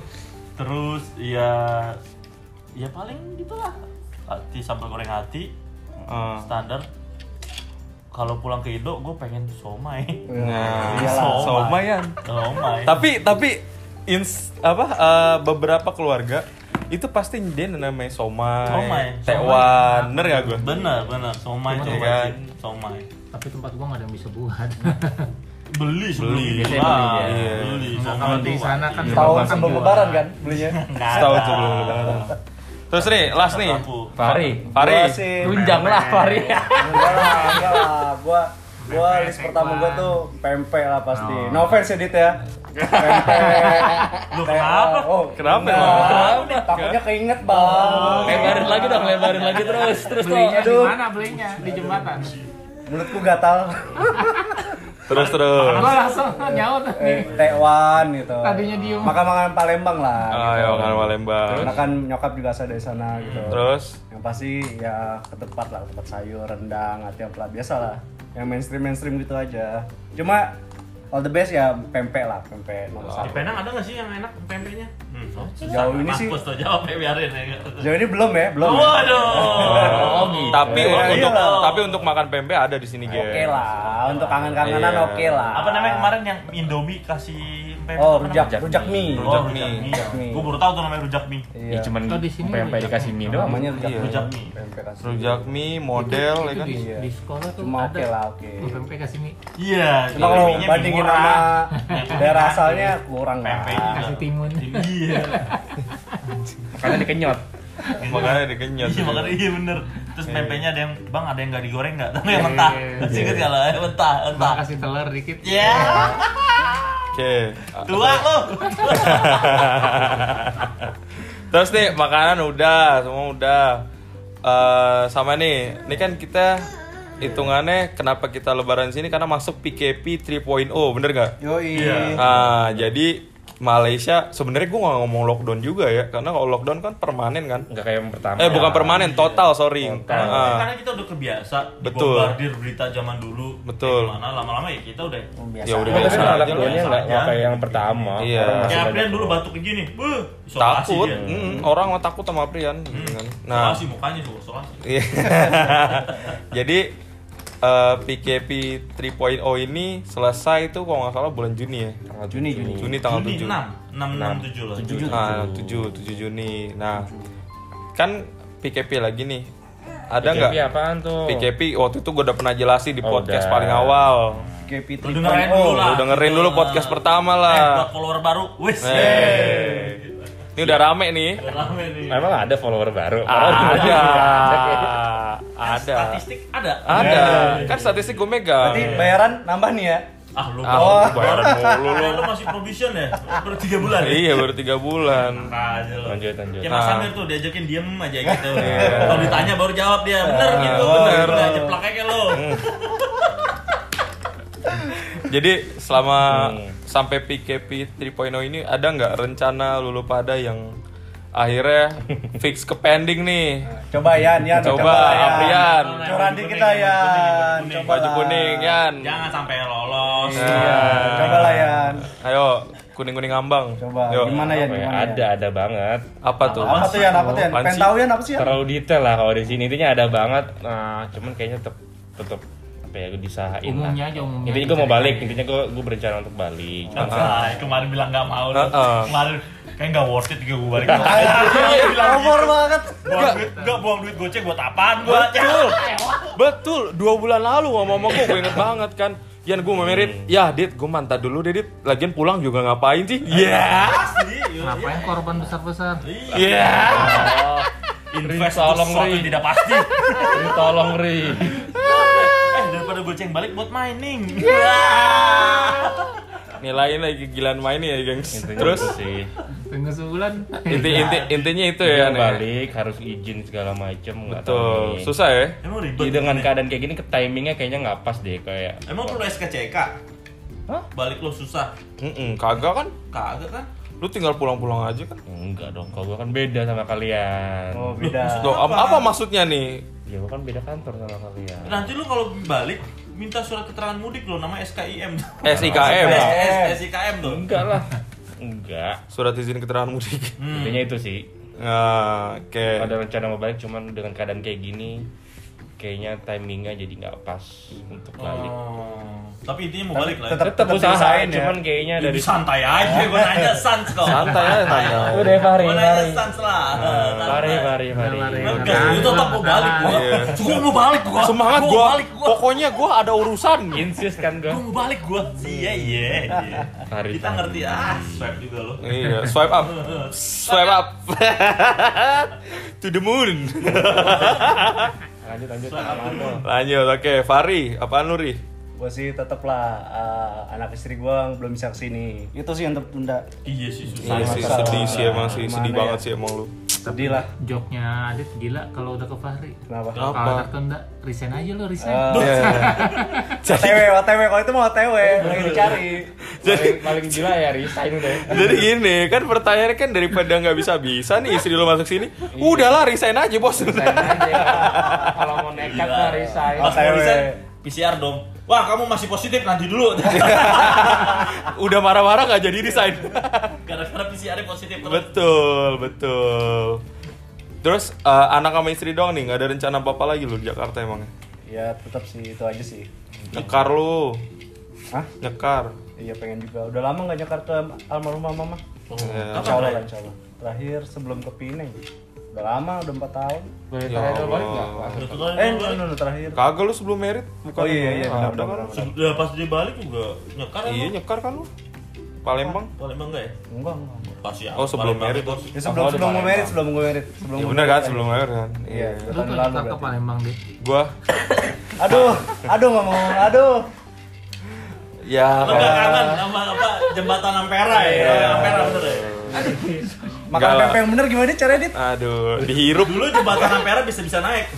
S1: terus ya ya paling gitulah hati sambal goreng hati
S3: Ah.
S1: standar kalau pulang ke Indo gue pengen somai
S3: Nah,
S1: Iyalah.
S3: somayan.
S1: somai
S3: Tapi tapi ins apa eh, beberapa keluarga itu pasti dia namanya somai,
S1: Somai.
S3: tewan, bener gak gue?
S1: bener bener somai
S3: Iya
S1: coba
S3: kan?
S1: sih somai
S7: Tapi tempat gua nggak ada yang bisa buat.
S1: beli sebelum
S3: Beli.
S1: Indo.
S3: Biasanya
S1: Ah,
S3: beli, ya.
S1: beli
S7: Nah,
S1: somai
S7: kalau di
S1: tuh
S7: sana kan
S1: wajib.
S7: semua
S5: Tahun
S7: orang
S5: sebelum
S7: jualan.
S5: lebaran kan belinya.
S1: Nggak
S3: Setahun
S1: ada.
S3: sebelum lebaran. Terus nih, last nih,
S1: Lampu.
S8: Fahri.
S3: Fari.
S5: Gua sih.
S8: Tunjang lah Fahri.
S5: Enggak lah, enggak lah. Gua gua list pertama gua tuh pempek lah pasti. No offense ya Dit ya. Pempek. Lu kenapa? Oh,
S3: Kenapa
S5: enggak.
S3: emang?
S5: Takutnya keinget, Bang.
S8: Oh. Lebarin lagi dong, lebarin lagi terus. Terus tuh.
S7: Belinya di
S5: Aduh.
S7: mana belinya? Di jembatan.
S5: Mulutku gatal.
S3: Terus terus.
S7: Gua langsung nyaut
S5: Eh,
S7: nih.
S5: Tewan gitu.
S7: Tadinya diem.
S5: Makan makanan Palembang lah.
S8: Oh,
S5: gitu.
S8: iya,
S3: Ayo kan Palembang.
S5: Makan nyokap juga asal dari sana gitu.
S3: Hmm, Terus
S5: Yang pasti ya ketupat lah, ketupat sayur, rendang, ati apalah biasa lah. Yang mainstream mainstream gitu aja. Cuma all the best ya pempek lah, pempek nomor
S1: di
S5: satu.
S1: Penang ada nggak sih yang enak pempeknya hmm. oh,
S5: Sejauh ini sih-
S1: Mas Pus tuh jawab ya biarin ya
S5: Jauh ini belum ya, belum. ya?
S1: waduh
S3: Oh, tapi
S5: Iya,
S3: untuk
S5: iya.
S3: tapi untuk makan pempek ada di sini,
S5: Oke
S3: guys.
S5: lah, untuk kangen-kangenan
S3: Iya.
S5: oke lah.
S1: apa namanya kemarin yang Indomie kasih pempek
S5: Oh,
S1: apa
S5: rujak,
S1: namanya?
S5: rujak mie.
S1: Oh,
S3: Rujak
S1: rujak
S3: mie.
S1: mie.
S5: Rujak mie.
S1: Gue baru tahu tuh namanya rujak mie.
S8: Ya
S5: Iya.
S8: cuman
S7: Kalau di sini
S8: pempek
S7: rujak.
S8: dikasih mie doang.
S5: Namanya rujak
S3: Iya.
S5: mie.
S1: Rujak mie.
S5: Pempek kasih.
S3: Rujak mie, model ya
S7: Itu
S3: kan.
S7: di,
S5: Iya.
S7: di sekolah tuh
S5: Cuma
S7: ada.
S5: oke lah, oke.
S7: UPMP kasih mie,
S1: Iya.
S5: Cuma kalau bandingin sama daerah asalnya kurang lah.
S3: Nah,
S1: pempek juga.
S7: kasih timun.
S1: Iya.
S8: Makanya dikenyot.
S3: Makanya dikenyot. gitu.
S1: Iya makanya iya bener. Terus pempeknya ada yang bang ada yang nggak digoreng nggak?
S3: Iya.
S1: Tapi yang mentah. Masih Ingat nggak lo? Yang Mentah, mentah. Iya.
S7: Kasih telur dikit.
S1: Ya.
S3: Iya. Oke.
S1: Tua lo.
S3: Terus nih makanan udah, semua udah. Eh, sama nih, ini kan kita hitungannya kenapa kita lebaran sini karena masuk PKP 3.0, oh, bener nggak?
S5: Yoi.
S3: Ah, jadi Malaysia sebenarnya gue nggak ngomong lockdown juga ya, karena kalau lockdown kan permanen kan?
S8: Enggak kayak yang pertama.
S4: Iya.
S3: Eh bukan permanen, total sorry.
S1: Karena
S3: Ah,
S1: karena kita udah kebiasa
S3: Betul.
S1: dibombardir berita zaman dulu.
S3: Betul.
S1: Mana lama-lama ya kita udah.
S5: Biasa.
S3: ya udah
S4: Iya,
S8: Tapi
S3: biasa.
S8: kan
S1: aja
S8: anak
S1: lah,
S8: duanya
S1: biasa
S8: nggak nggak
S1: aja.
S8: kayak yang pertama.
S3: Iya.
S8: Orang
S1: Ya
S8: masih banyak-
S1: Aprian dulu batuk begini. Buh, isolasi
S3: Takut,
S1: dia.
S3: mm, orang mah takut sama Aprian. gitu kan. Nah,
S1: Isolasi mukanya juga isolasi.
S3: Iya. Jadi eh, PKP 3.0 ini selesai itu kalau nggak salah bulan Juni ya.
S5: Juni, Juni.
S3: Juni tanggal
S1: Juni
S3: 7.
S1: 6, 6, 6, 7 lah.
S3: Nah, 7, 7 Juni. Nah, kan PKP lagi nih. Ada nggak?
S8: PKP Iya, apaan tuh?
S3: PKP waktu itu gue udah pernah jelasin di
S8: Oh,
S3: podcast
S8: udah. Ah, gitu.
S3: paling awal.
S5: KP
S1: Lu dengerin
S5: oh.
S1: dulu lah.
S3: Lu dengerin dulu podcast pertama
S1: Eh,
S3: lah.
S1: buat follower baru. Wis.
S3: Ah. Eh. Ini udah rame nih.
S1: Udah Rame nih.
S8: Emang Iya. ada Iya. follower baru?
S3: Ada. Ada.
S1: Statistik ada.
S8: Iya.
S3: Ada. Kan statistik gue megang.
S5: Berarti bayaran nambah nih ya?
S1: Ah, lu baru-
S3: Ah, lu bayaran mulu
S1: Eh,
S3: lu.
S1: lu masih provision ya? Baru 3 bulan ya?
S3: Iya baru tiga bulan.
S1: Aja lu.
S8: Lanjut, lanjut.
S1: Ya Mas
S3: Ah. Iya.
S1: Samir tuh diajakin diem aja gitu. Kalau ditanya baru jawab dia, bener
S3: Ah,
S1: gitu.
S3: bener. Hmm.
S1: Udah jeplak aja lu.
S3: Jadi selama
S8: Hmm.
S3: sampai PKP 3.0 ini ada nggak rencana lulu pada yang akhirnya fix ke pending nih?
S5: Coba Yan, Yan.
S3: Coba,
S5: Yan.
S3: Aprian.
S5: Curahan dikit kita Yan.
S1: Baju kuning,
S5: Coba
S3: Baju kuning kan.
S1: Jangan sampai lolos.
S5: Iya, coba lah Yan.
S3: Ayo kuning-kuning ambang.
S5: Coba.
S3: Yo.
S5: Gimana ya?
S8: Apa ya?
S5: Gimana Yan?
S8: Ada, ada banget.
S3: Apa tuh?
S5: Apa tuh Yan? Apa tuh Yan?
S3: Apaan
S5: Pengen
S3: sih?
S5: tahu Yan apa sih Yan?
S8: Terlalu detail lah kalau di sini intinya ada banget. Nah, cuman kayaknya tetap tetap apa ya gue disahain lah.
S7: Umumnya aja umumnya. Oh.
S8: Intinya gue mau balik, intinya gue gue berencana untuk balik. Cuman
S1: Nah, kemarin bilang gak mau lu.
S3: Heeh.
S1: Kemarin kayak gak worth it gue balik.
S5: Over banget.
S1: Buang duit, gak buang duit goceng buat apaan gua?
S3: Betul. Betul. Dua bulan lalu ngomong sama gue, gue inget banget kan. Yan gue mau merit. Ya, Dit, gue mantap dulu deh, Dit. Lagian pulang juga ngapain sih? Ya.
S1: Asli. iya.
S7: Ngapain korban besar-besar?
S3: Ya.
S1: Invest untuk sesuatu yang tidak pasti.
S8: Ri, tolong Ri.
S1: Eh, daripada goceng balik buat mining.
S3: Nilain lagi kegilaan main ya, gengs.
S8: Intinya
S3: Terus
S8: gitu sih.
S7: Tunggu sebulan.
S3: inti inti intinya itu ya,
S8: Iya,
S3: nih.
S8: balik harus izin segala macem nggak tahu
S3: Betul.
S8: nih.
S3: Susah ya?
S1: Emang
S8: Jadi
S1: ribet.
S8: Iya, dengan keadaan kayak gini ke timingnya kayaknya nggak pas deh kayak
S1: Emang perlu SKCK? Hah? Balik lo susah.
S3: Mm-mm, kagak kan?
S1: Kagak kan?
S3: Lu tinggal pulang-pulang aja kan?
S8: enggak dong kalau gue kan beda sama kalian
S5: Oh, beda.
S3: Loh, am- apa maksudnya nih?
S8: ya gue kan beda kantor sama kalian
S1: Nanti lu kalau balik minta surat keterangan mudik lo namanya SKIM.
S3: SIKM.
S1: S- S- SIKM tuh.
S8: enggak lah enggak
S3: Surat izin keterangan mudik.
S4: Hmm.
S8: intinya itu sih
S3: Nah, oke.
S8: ada rencana mau balik cuman dengan keadaan kayak gini kayaknya timingnya jadi nggak pas untuk balik
S1: Oh. Tapi intinya mau balik lah.
S5: Tetap-
S8: tetap
S5: tetap
S8: usaha
S5: diusahain ya.
S8: cuman kayaknya
S1: Ya,
S8: dari
S1: Dari santai aja gue nanya sans kok.
S3: Santai aja tanya.
S8: udah Fahri
S1: Gue nanya
S8: Fahri
S1: sans lah.
S8: Fahri Fahri Fahri
S7: Fahri.
S1: Enggak, itu tetap mau balik gua.
S3: Iya.
S1: Gua mau balik gua.
S3: Semangat
S1: Gua
S3: gua.
S1: mau balik gua.
S3: Pokoknya gua ada urusan.
S8: insist kan gue
S1: Gua mau balik gua. Iya iya. iya.
S8: Fahri,
S1: Kita
S8: Fahri.
S1: ngerti ah, swab juga lo.
S3: Iya, swipe up. Swipe up. to the moon.
S8: lanjut lanjut
S3: Lanjut, oke. Fahri, apaan lu, Ri?
S5: Gue sih tetep lah eh, anak istri gue belum bisa kesini. Itu sih yang tertunda.
S1: Iya sih susah.
S3: Iya sih, sedih sih emang sih. Sedih
S5: Gimana
S3: banget
S5: ya?
S3: sih emang lu.
S5: Sedih lah.
S7: Joknya Adit gila kalau udah ke Fahri.
S5: Kenapa?
S7: Kalau
S3: Apa?
S7: tertunda, resign aja lo resign.
S5: Eh, OTW, OTW. Kalau itu mau OTW,
S1: Iya,
S5: lagi dicari.
S8: paling paling gila ya resign udah
S3: Jadi gini, kan pertanyaannya kan daripada nggak bisa-bisa nih istri lu masuk sini, udahlah resign aja bos.
S8: kalau mau nekat lah resign
S1: Pas mau
S5: OTW.
S1: resign, PCR dong. Wah, kamu masih positif nanti dulu.
S3: Udah marah-marah nggak jadi resign.
S1: Gara-gara PCR positif terus.
S3: betul, betul. Terus eh, anak sama istri doang nih, nggak ada rencana apa-apa lagi lu di Jakarta emangnya?
S5: Ya tetap sih itu aja sih.
S3: Nyekar lu,
S5: Hah?
S3: nyekar.
S5: Iya pengen juga. Udah lama nggak nyakar ke almarhumah mama.
S3: Ya.
S5: Insya Allah, lah, insya Allah. Terakhir sebelum ke Pineng. Udah lama, udah 4 tahun.
S8: boleh
S3: Ya
S8: terakhir balik nggak
S3: Allah.
S1: Betul kan?
S5: Eh, no, no, no, terakhir.
S3: Kagak lu sebelum merit bukan?
S5: Oh iya, iya,
S3: Ah,
S5: benar,
S3: udah
S5: benar,
S3: kan?
S5: benar.
S1: Sudah pas dia balik juga nyekar
S3: Iya nyekar kan lu. Palembang.
S1: Palembang enggak ya?
S5: Enggak, enggak.
S1: Pasti ya.
S3: Oh, sebelum merit
S1: bos.
S5: Ya sebelum
S8: Kalau
S5: sebelum gue
S8: di Palembang.
S5: merit, sebelum gue merit, Iya, sebelum
S3: Ya
S5: gue
S3: benar kan
S5: merit.
S3: sebelum merit kan.
S5: Iya,
S3: Iya.
S7: Lu
S5: tahun
S7: tuh
S5: lalu
S7: nyekar ke
S5: berarti.
S7: Palembang deh.
S3: Gua
S5: Aduh, aduh ngomong, aduh.
S3: ya
S1: Lo nggak kangen sama apa jembatan Ampera
S3: Iya.
S1: ya? Jembatan Ampera bener ya?
S5: Makan
S3: lah.
S5: pempek yang bener gimana caranya, Dit?
S3: Aduh, dihirup.
S1: Dulu jembatan Ampera bisa-bisa naik.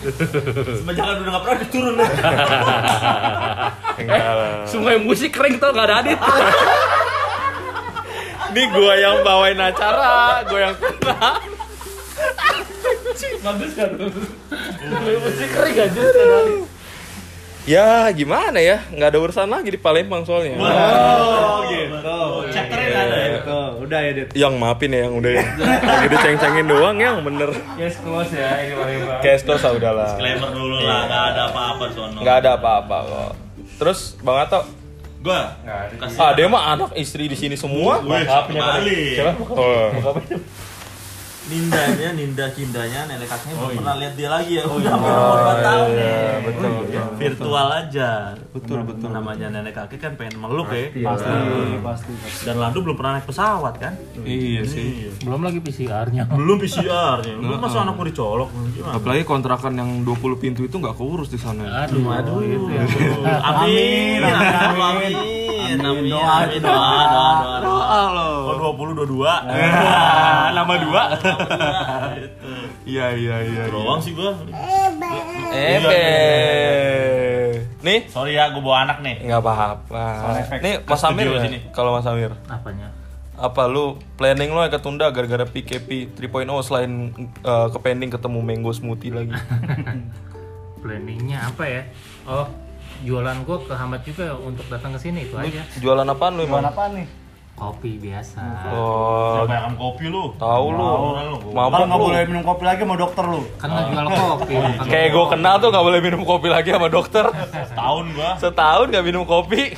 S1: Semenjak udah nggak pernah diturun.
S3: Oh,
S8: sungai musik kering tau gak ada adit
S3: Ini gua yang bawain acara, gua yang
S8: bagus kan sungai musik kering aja kan adit
S3: Ya, gimana ya? Nggak ada urusan lagi di Palembang soalnya.
S1: Oh gitu. Chapternya
S3: Iya,
S1: nggak ada ya?
S5: Tuh, udah ya, Dit.
S3: Yang maafin ya yang udah ya. Lagi diceng-cengin doang ya, yang bener.
S8: yes close ya ini paling
S3: Cash close ah, udahlah.
S1: Disclaimer dulu lah, nggak ada apa-apa sono.
S3: Nggak ada apa-apa kok. Terus Bang Ato,
S1: Gua
S3: ah dia mah anak istri di sini semua.
S1: Wih, kembali.
S3: Oh.
S1: Nindanya, Ninda Kindanya, nenek kakeknya belum pernah lihat dia lagi ya. Udah hampir puluhan tahun nih.
S3: betul.
S1: Virtual aja. Betul, betul. Namanya nenek kakek kan pengen meluk ya.
S5: Pasti, pasti.
S1: Dan Landu belum pernah naik pesawat kan?
S3: Iya sih.
S7: Belum lagi PCR-nya.
S1: belum PCR nya lu masa anak mau dicolok gimana
S3: Apalagi kontrakan yang 20
S7: Gitu
S3: pintu itu nggak keurus di sana.
S7: Aduh, aduh, itu ya.
S1: amin amin, amin.
S2: Amin, amin,
S5: doa
S2: amin,
S5: itu
S2: doa,
S5: doa.
S2: doa, doa, doa.
S8: Ah,
S3: Oh, 20 22. Nama dua. Iya, iya, iya.
S1: Doang sih gua.
S3: Ebe. Nih,
S1: Sorry ya, gua bawa anak nih.
S3: iya. nggak apa-apa. Nih, Mas Amir
S1: Studio
S3: nggak?
S1: sini.
S3: Kalau Mas Amir,
S7: Apanya?
S3: apa lu planning lo yang ketunda gara-gara PKP 3.0 selain eh, ke pending ketemu mango smoothie lagi?
S7: Planningnya apa ya? Oh, jualan gua kehambat juga untuk datang ke sini itu aja.
S3: Jualan apaan lu
S5: Jualan
S3: emang?
S5: apaan nih?
S7: Kopi biasa.
S3: Oh,
S1: Kebanyakan kopi lu.
S3: tahu lu.
S5: Kalau
S3: Mabok
S5: nggak
S3: lu.
S5: boleh minum kopi lagi mau dokter lu.
S7: Kan nggak jual kopi. bukan
S3: Kayak gue kenal tuh nggak boleh minum kopi lagi sama dokter.
S1: Setahun gua.
S3: Setahun nggak minum kopi.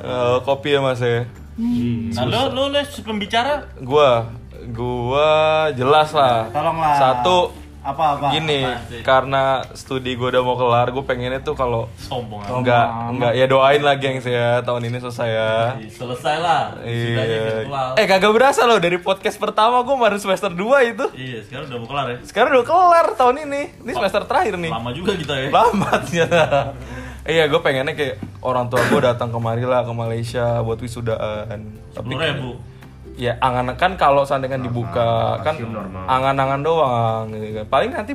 S3: Eh, kopi ya mas ya.
S1: Nah, lu lu lu pembicara
S3: Gua, gua jelas lah.
S5: Tolonglah.
S3: Satu
S5: Apa apa?
S3: gini, karena studi gua udah mau kelar, gue pengennya tuh kalau
S1: sombong amat.
S3: nggak nggak ya doain lah gengs ya tahun ini selesai ya.
S1: Iya, Selesai lah. Sudahnya virtual.
S3: Iya. Eh kagak berasa loh dari podcast pertama gue baru semester 2 itu.
S1: Iya, sekarang udah mau kelar ya.
S3: Sekarang udah kelar tahun ini. Ini semester terakhir nih.
S1: Lama juga kita ya.
S3: Lama ternyata. Iya, gue pengennya kayak orang tua gue datang kemari lah ke Malaysia buat wisudaan. Tapi
S1: Sepuluh ribu.
S3: ya angan kan kalau sandengan dibuka kan angan-angan doang gitu kan. Paling nanti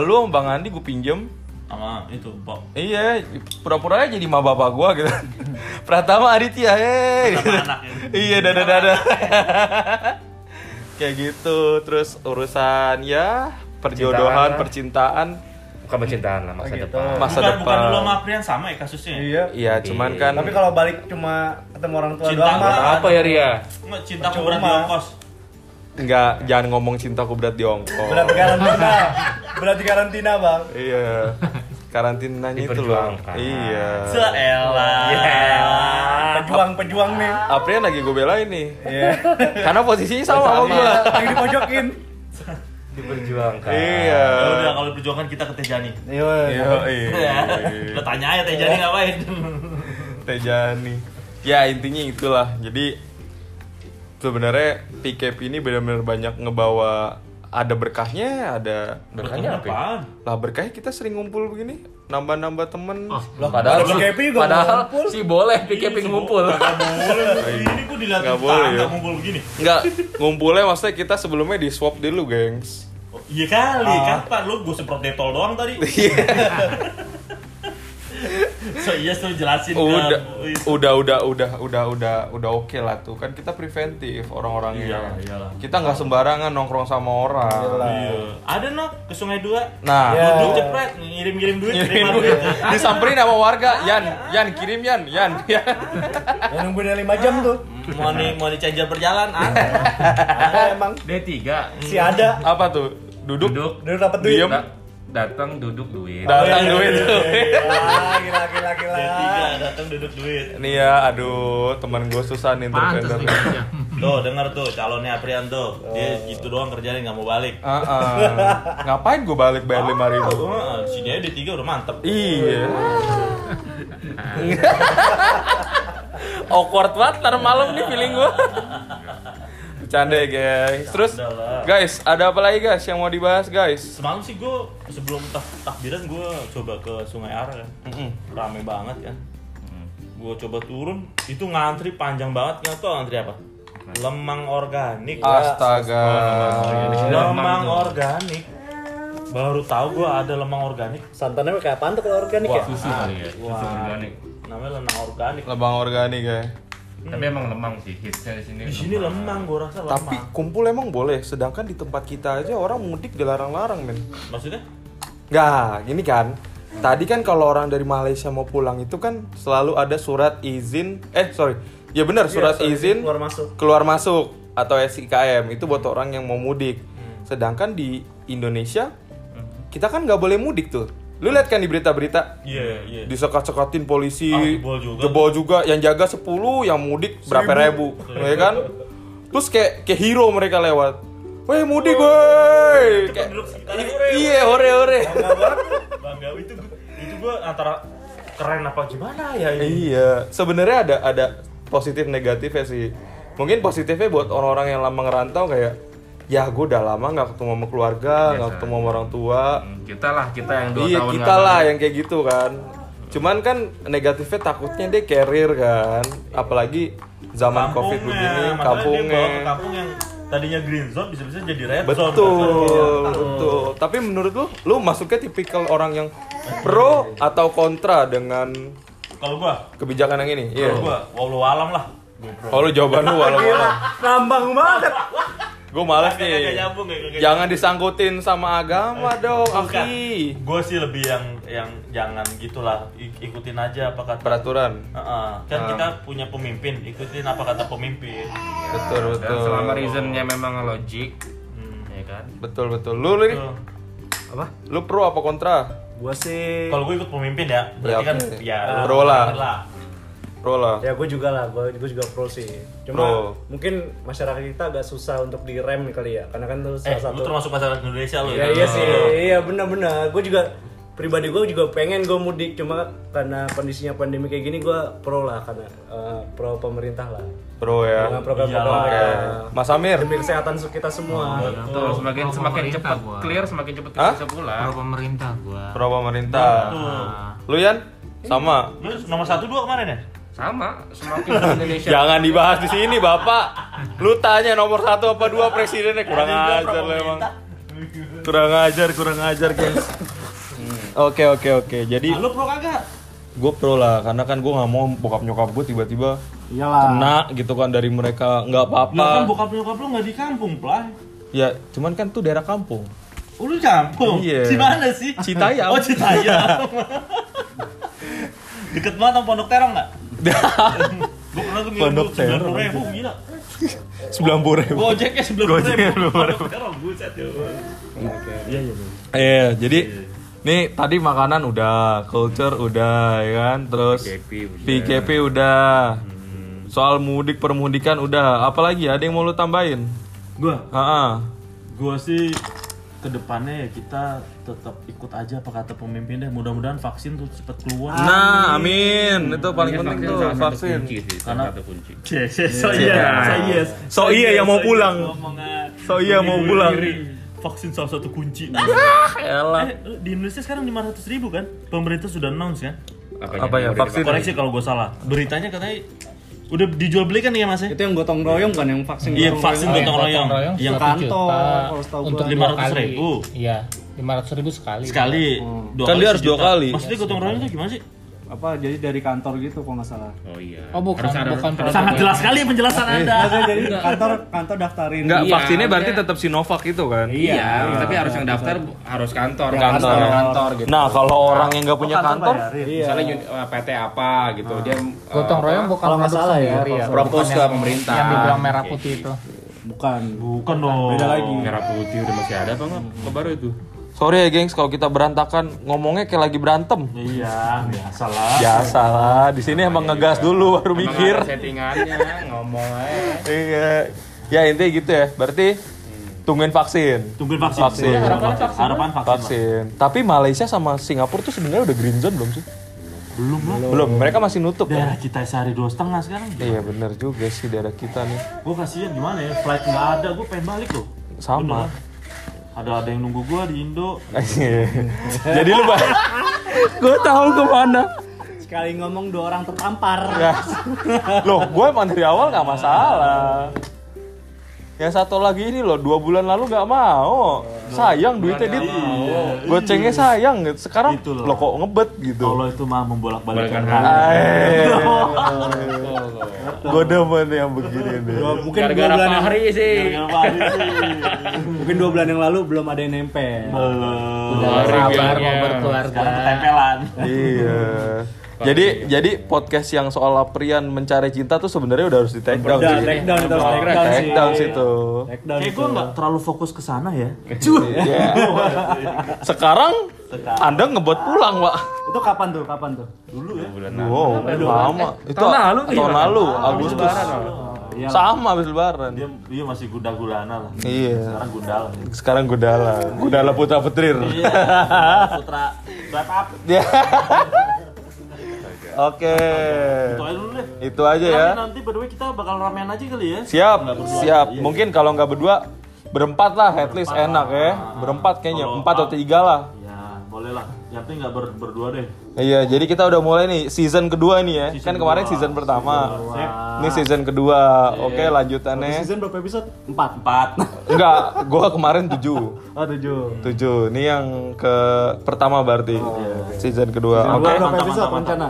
S3: lu sama Bang Andi gue pinjem
S1: Sama itu, Pok.
S3: Iya, pura-pura aja jadi ma bapak gua gitu. Pratama Aditya, hey. iya, dadah dadah. Kayak gitu, terus urusan ya perjodohan, percintaan,
S8: Bukan mencintaan lah masa depan.
S3: masa
S1: bukan,
S3: depan.
S1: bukan dulu sama Aprian sama ya kasusnya. ya?
S5: Iya.
S3: Iya, cuman kan
S5: Tapi kalau balik cuma ketemu orang tua
S1: Cinta
S5: doang
S1: gua.
S5: mah.
S8: Apa ya Ria?
S1: Nggak, cinta
S5: Percuma.
S1: kuburan di ongkos.
S3: nggak jangan ngomong cintaku berat di
S5: Berat
S3: ongkos.
S5: di karantina. Berat di karantina, Bang.
S3: iya. Karantinanya itu loh.
S8: Diperjuangkan.
S3: Iya.
S1: Seelah.
S5: Pejuang-pejuang nih.
S3: Aprian lagi gue belain nih.
S5: Iya.
S3: Karena posisinya sama sama gua.
S5: Lagi dipojokin.
S8: Diperjuangkan.
S3: Iya.
S1: Ya udah kalau perjuangan kita ke Tejani. Ya.
S5: Iya.
S3: Iya, iya. iya.
S1: Lo tanya aja Tejani ngapain.
S3: Tejani. Ya intinya itulah. Jadi sebenarnya PKP ini benar-benar banyak ngebawa ada berkahnya, ada
S8: Berkahnya apa? ya?
S1: Apaan?
S3: lah berkahnya kita sering ngumpul begini, nambah-nambah temen.
S1: Oh.
S6: Padahal
S5: Bang
S6: si,
S5: Kepi juga
S6: padahal
S5: ngumpul.
S6: si boleh
S1: Iya,
S6: PKP ngumpul.
S1: Gak boleh. Ini gua dilihat
S3: Iya. Nggak
S1: tetangga
S3: boleh, ya.
S1: ngumpul begini.
S3: Enggak, ngumpulnya maksudnya kita sebelumnya di swap dulu, gengs.
S1: Oh, Iya kali,
S3: Ah.
S1: kapan lu gua semprot detol doang tadi.
S3: Iya.
S1: so iya so jelasin ke-
S3: Oh, Udah,
S1: Wis.
S3: udah, udah, udah, udah, udah, udah oke lah tuh kan kita preventif orang-orangnya.
S1: Iyalah, Iya, iyalah.
S3: Kita nggak sembarangan nongkrong sama orang.
S1: Iya. Ada nok ke Sungai Dua.
S3: Nah,
S1: Gua dulu cepret ngirim-ngirim duit,
S3: Ngirim
S1: Iya. terima
S3: duit.
S1: duit.
S3: disamperin sama warga, Yan, Yan kirim Yan, Yan, Yan.
S5: Ya nungguin 5 jam tuh.
S1: Money money changer berjalan ah. ada.
S5: Ada emang
S4: D3
S5: si ada.
S3: Apa tuh? Duduk,
S4: duduk
S5: Dulu dapat duit.
S3: diem,
S4: da- datang duduk duit.
S3: datang duit tuh.
S5: Gila, gila, gila, gila.
S1: Tiga datang duduk duit.
S3: Nih ya, aduh, teman gue susah nih
S7: Pantes ya.
S3: entrepreneur.
S7: nih kerja.
S1: Tuh, denger tuh calonnya Aprian tuh. Dia
S3: Oh.
S1: gitu doang kerjanya nggak mau balik.
S3: Ah, ah. ngapain gue balik bayar lima ribu?
S1: Heeh, sini aja di tiga udah mantep.
S3: Oh. Iya. Awkward banget ntar malam nih feeling gue. Bercanda ya guys. Terus guys, ada apa lagi guys yang mau dibahas guys?
S1: Semalam sih gue sebelum tak takbiran gue coba ke Sungai Ara kan. Rame banget kan. Gue coba turun, itu ngantri panjang banget. Nggak tau ngantri apa? Lemang organik.
S3: Ya,
S1: Iya,
S3: Astaga.
S1: Lemang organik. Baru tahu gue ada lemang organik.
S5: Santannya kayak apaan tuh kalau organik ya?
S4: Susu
S1: Ah.
S4: kali ya.
S8: Iya,
S4: Susu organik.
S1: Namanya lemang organik.
S3: Lebang organik guys.
S4: Tapi emang lemang sih hitsnya di sini.
S1: Di sini lemang, gue rasa lemang.
S3: Tapi kumpul emang boleh, sedangkan di tempat kita aja orang mudik dilarang-larang men.
S1: maksudnya?
S3: Nggak, gini kan. Tadi kan kalau orang dari Malaysia mau pulang itu kan selalu ada surat izin, eh sorry, ya
S1: Iya,
S3: benar surat izin
S5: keluar masuk.
S3: keluar masuk atau SIKM itu buat orang yang mau mudik.
S1: Hmm.
S3: Sedangkan di Indonesia kita kan nggak boleh mudik tuh. Lu lihat kan di berita-berita
S1: Iya, iya.
S3: disekat-sekatin polisi,
S1: Ah, jebol juga.
S3: jebol juga, yang jaga 10, yang mudik berapa ribu, ya kan? Terus kayak kayak hero mereka lewat. Weh mudik,
S1: Oh.
S3: woi. Kayak-
S1: kan duduk sekitarnya, hore, hore.
S3: Iya, hore hore.
S1: Oh, Bangga itu itu gue antara keren apa gimana ya ini.
S3: Iya, sebenarnya ada ada positif negatifnya sih. Mungkin positifnya buat orang-orang yang lama ngerantau kayak ya gue udah lama nggak ketemu sama keluarga, nggak ketemu sama orang tua.
S4: Iya, Hmm, Kita lah, kita yang dua
S3: iya
S4: tahun
S3: kita
S4: nggak
S3: lah
S4: balik.
S3: yang kayak gitu kan. Cuman kan negatifnya takutnya dia carrier kan, apalagi zaman covid begini,
S1: masalahnya dia
S3: kampungnya.
S1: bawa ke kampung yang tadinya green zone bisa-bisa jadi red zone
S3: Betul, betul. Tapi menurut lu, lu masuknya tipikal orang yang pro atau kontra dengan
S1: kalau gua
S3: kebijakan yang ini? Iya.
S1: kalau gua walau alam lah Gua pro.
S3: Kalau jawaban Oh, lu walau
S2: Rambang banget.
S3: Gue males
S1: Kan Kagak- kagak
S3: nih.
S1: nyambung, ya, kagak- kagak
S3: Jangan disangkutin sama agama dong,
S1: Bukan.
S3: Aki.
S1: Gue sih lebih yang yang jangan gitulah I- ikutin aja apa kata.
S3: Peraturan.
S1: Heeh.
S3: Ah.
S1: Kan kita punya pemimpin, ikutin apa kata pemimpin.
S3: Betul,
S6: Dan
S3: betul.
S6: selama reasonnya memang logik, ya kan?
S3: Betul, betul. Lu lu nih,
S1: Tuh.
S5: apa
S3: lu pro apa kontra?
S5: gue sih
S1: Kalau gue ikut pemimpin ya, berarti
S3: Ya,
S1: kan
S3: oke.
S1: ya
S3: Pro lah.
S1: bener
S3: Pro lah.
S5: ya gue juga lah gue juga pro sih cuma
S3: Pro.
S5: mungkin masyarakat kita agak susah untuk direm kali ya karena kan itu
S1: Eh,
S5: salah satu
S1: lu termasuk masyarakat Indonesia lu.
S5: Ya, iya sih, iya benar-benar. Gue juga pribadi gue juga pengen gue mudik, cuma karena kondisinya pandemi kayak gini gue pro lah karena eh, pro pemerintah lah.
S3: Pro
S5: Dengan
S3: ya.
S5: program-program
S1: Iyalah.
S5: mereka.
S3: Mas Amir.
S5: demi kesehatan kita semua.
S6: Betul, semakin
S7: Pro
S6: semakin
S7: pemerintah
S6: cepat
S7: gua.
S6: clear, semakin cepat kita
S3: Hah?
S6: bisa pulang.
S7: Pro pemerintah gua.
S3: Pro pemerintah. Lu Yan? Sama.
S1: Lu nomor satu dua kemarin ya?
S6: Sama, semakin Indonesia.
S3: Jangan dibahas di sini, Bapak. Lu tanya nomor satu apa dua presidennya kurang ajar lu emang. Kurang ajar, kurang ajar, guys. Oke, oke, oke. Jadi
S1: Nah, Lu pro kagak?
S3: gue pro lah karena kan gue nggak mau bokap nyokap gue tiba-tiba
S2: Iya
S3: kena gitu kan dari mereka nggak apa-apa
S1: Lu kan bokap nyokap lu nggak di kampung, Play.
S3: ya cuman kan tuh daerah kampung
S1: Oh, lu kampung?
S3: Iya.
S1: Di mana sih?
S3: Citayam.
S1: Oh, Citayam. Deket banget sama Pondok Terong nggak? Gue pernah tuh
S3: Pondok Terong.
S1: ribu, gila.
S3: sembilan puluh ribu
S1: Gojeknya sebelum
S3: Gojeknya
S1: Pondok Terong, buset ya.
S3: iya jadi nih tadi makanan udah culture udah ya kan terus
S8: PKP udah.
S3: PKP udah soal mudik permudikan udah apalagi ada yang mau lu tambahin
S1: Gue,
S3: Ah,
S1: gue sih kedepannya ya kita tetap ikut aja apa kata pemimpin deh. Mudah-mudahan vaksin tuh cepet keluar.
S3: nah amin itu paling
S8: Vaksin
S3: penting
S8: itu
S3: tuh
S8: salah satu
S3: vaksin
S8: kunci sih, salah
S1: Karena-
S8: satu kunci.
S1: Yes, yes, so yes, so yes.
S3: So iya yang mau pulang. So iya mau pulang.
S1: Vaksin salah satu kunci.
S3: Elah.
S1: Eh, di Indonesia sekarang 500 ribu kan? Pemerintah sudah announce kan?
S8: Apanya?
S4: Iya,
S3: Apa ya,
S8: Udah
S3: vaksin?
S8: dipakai.
S1: Koreksi kalau gue salah. Beritanya katanya udah dijual belikan ya mas ya?
S2: Itu yang gotong royong kan yang vaksin.
S1: Iya vaksin gotong royong. Iya, Yang
S2: satu
S1: kantor
S2: juta
S1: untuk
S7: dua
S1: 500
S7: kali.
S1: ribu.
S7: Iya, 500 ribu sekali.
S1: sekali. Dua
S3: Kan dia harus
S1: sejuta.
S3: dua kali.
S1: Maksudnya Hmm. gotong royong itu gimana sih?
S2: Apa jadi dari kantor gitu kalau nggak salah.
S8: Oh iya.
S7: Oh, bukan bukan pro
S1: Sangat jelas sekali penjelasan anda.
S2: Jadi kantor kantor daftarin.
S3: Enggak,
S8: Iya,
S3: vaksinnya berarti
S8: iya.
S3: tetap Sinovac itu kan?
S8: Iya, tapi harus yang daftar bu- harus kantor.
S3: Kantor.
S8: kantor gitu.
S3: Nah, kalau orang yang nggak punya kantor,
S8: Misalnya uni- eh, PT apa gitu, dia eh,
S7: Gotong
S8: apa,
S7: royong bukan
S2: Kalau nggak
S7: produk
S2: salah ya,
S7: sendiri
S2: kalau
S8: Propose
S7: Bukan
S8: ke
S7: Oh, yang-
S8: pemerintah.
S7: Yang dibilang merah putih itu.
S2: Bukan.
S1: Bukan dong.
S2: Beda lagi.
S8: Oh, merah putih udah masih ada apa nggak? Kok baru itu?
S3: sorry ya gengs kalau kita berantakan ngomongnya kayak lagi berantem.
S1: Iya, biasa lah.
S3: Biasa lah, di sini emang ngegas dulu baru
S8: Emang
S3: mikir.
S8: ada settingannya ngomong aja.
S3: Iya. Ya intinya gitu ya. Berarti tungguin vaksin.
S1: Tungguin vaksin.
S3: Vaksin.
S1: Harapan vaksin. Harapan vaksin.
S3: Vaksin. Tapi Malaysia sama Singapura tuh sebenarnya udah green zone belum sih?
S1: Belum lah.
S3: Belum. Mereka masih nutup
S1: Daerah
S3: ya.
S1: kita sehari dua setengah sekarang.
S3: Iya bener juga sih daerah kita nih.
S1: Gue kasihan gimana ya, flight nggak ada, gue pengen balik loh.
S3: Sama. Iya.
S1: Beneran. Ada ada yang nunggu gue di Indo.
S3: Jadi lu Gue tahu kemana.
S2: Sekali ngomong dua orang tertampar.
S3: Ya. Loh, gue emang dari awal nggak masalah. Yang satu lagi ini loh, dua bulan lalu nggak mau. Sayang duitnya dit.
S2: Iya.
S3: Gocengnya sayang. gitu. Sekarang
S1: Itu loh.
S3: lo kok ngebet gitu.
S1: Allah itu mah membolak balikan
S3: Aeh. Gue demen yang begini nih.
S2: Oh, Mungkin dua
S8: Gara-gara
S2: bulan yang,
S8: Fahri sih.
S2: mungkin dua bulan yang lalu belum ada yang nempel.
S7: Oh, Sabar mau
S8: Iya.
S7: berkeluarga.
S1: Sekarang ketempelan.
S3: Iya. Jadi jadi podcast yang soal Aprian mencari cinta tuh sebenarnya udah harus di take down
S2: Udah
S3: sih.
S2: take down, itu harus take down sih.
S3: Take Iya. down situ.
S2: Take down
S1: Kayak
S2: itu.
S1: gue nggak terlalu fokus ke sana ya.
S3: Iya. Sekarang Anda ngebot pulang, Pak.
S2: Itu kapan tuh? Kapan tuh?
S1: ya? Iya.
S3: Wow, lama. Itu ya, Eh, tahun lalu, tahun lalu Agustus. Sama habis lebaran.
S1: Dia dia masih gundah gulana lah.
S3: Iya.
S1: Sekarang gundal.
S3: Sekarang Gundala. Gundala Putra Putrir.
S1: Putra wrap up.
S3: Ya. Oke.
S1: Itu aja dulu deh.
S3: Itu aja ya.
S1: Tapi nanti by the way kita bakal ramean aja kali ya.
S3: Siap, siap. Mungkin kalau nggak berdua berempat lah, at least enak ya. Berempat kayaknya,
S1: Kalau
S3: empat atau tiga lah.
S1: Ya, boleh Boleh lah, yang penting nggak ber- berdua deh.
S3: Iya, jadi kita udah mulai nih season kedua nih ya. kan kemarin season pertama. Ini season kedua. Iya. Oke, lanjutannya.
S5: Season berapa episode? Empat.
S1: Empat.
S3: Enggak, gua kemarin tujuh.
S5: Oh tujuh.
S3: Tujuh. Ini yang ke pertama berarti. iya, Season kedua.
S5: Kedua
S3: Oke.
S5: berapa
S1: mantap,
S5: episode
S1: mantap,
S5: rencana?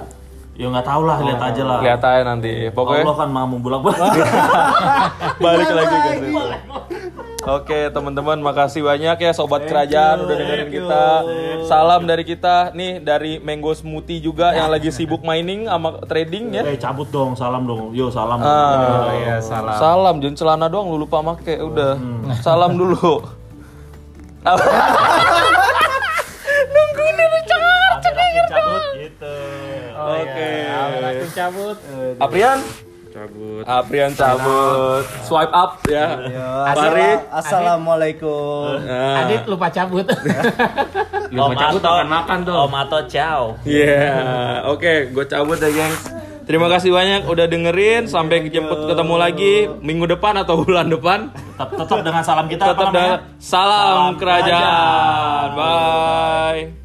S1: Ya nggak tahu lah, lihat aja lah.
S3: Lihat aja nanti. Pokoknya
S1: Allah kan mamu bulak balik.
S3: balik lagi ke situ. Oke teman-teman makasih banyak ya sobat kerajaan udah dengerin kita. Salam dari kita nih dari Mango Smoothie juga yang lagi sibuk mining sama trading ya.
S1: eh cabut dong, salam dong. Yo salam.
S3: Ah, salam. Hmm. Salam jangan celana doang lu lupa make udah. Salam dulu.
S1: Sampai langsung cabut gitu.
S3: Oh, Oke. Aprian cabut. Aprian cabut. Swipe up ya. Mari.
S5: Assalamualaikum.
S7: Adit lupa cabut.
S1: Om Ato, makan tuh. Om Ato, ciao.
S3: Iya, oke, gue cabut ya, gengs. Terima kasih banyak udah dengerin. Sampai jemput ketemu lagi minggu depan atau bulan depan.
S1: Tetap, tetap dengan salam kita. apa
S3: Tetap
S1: namanya?
S3: dengan salam kerajaan. Bye.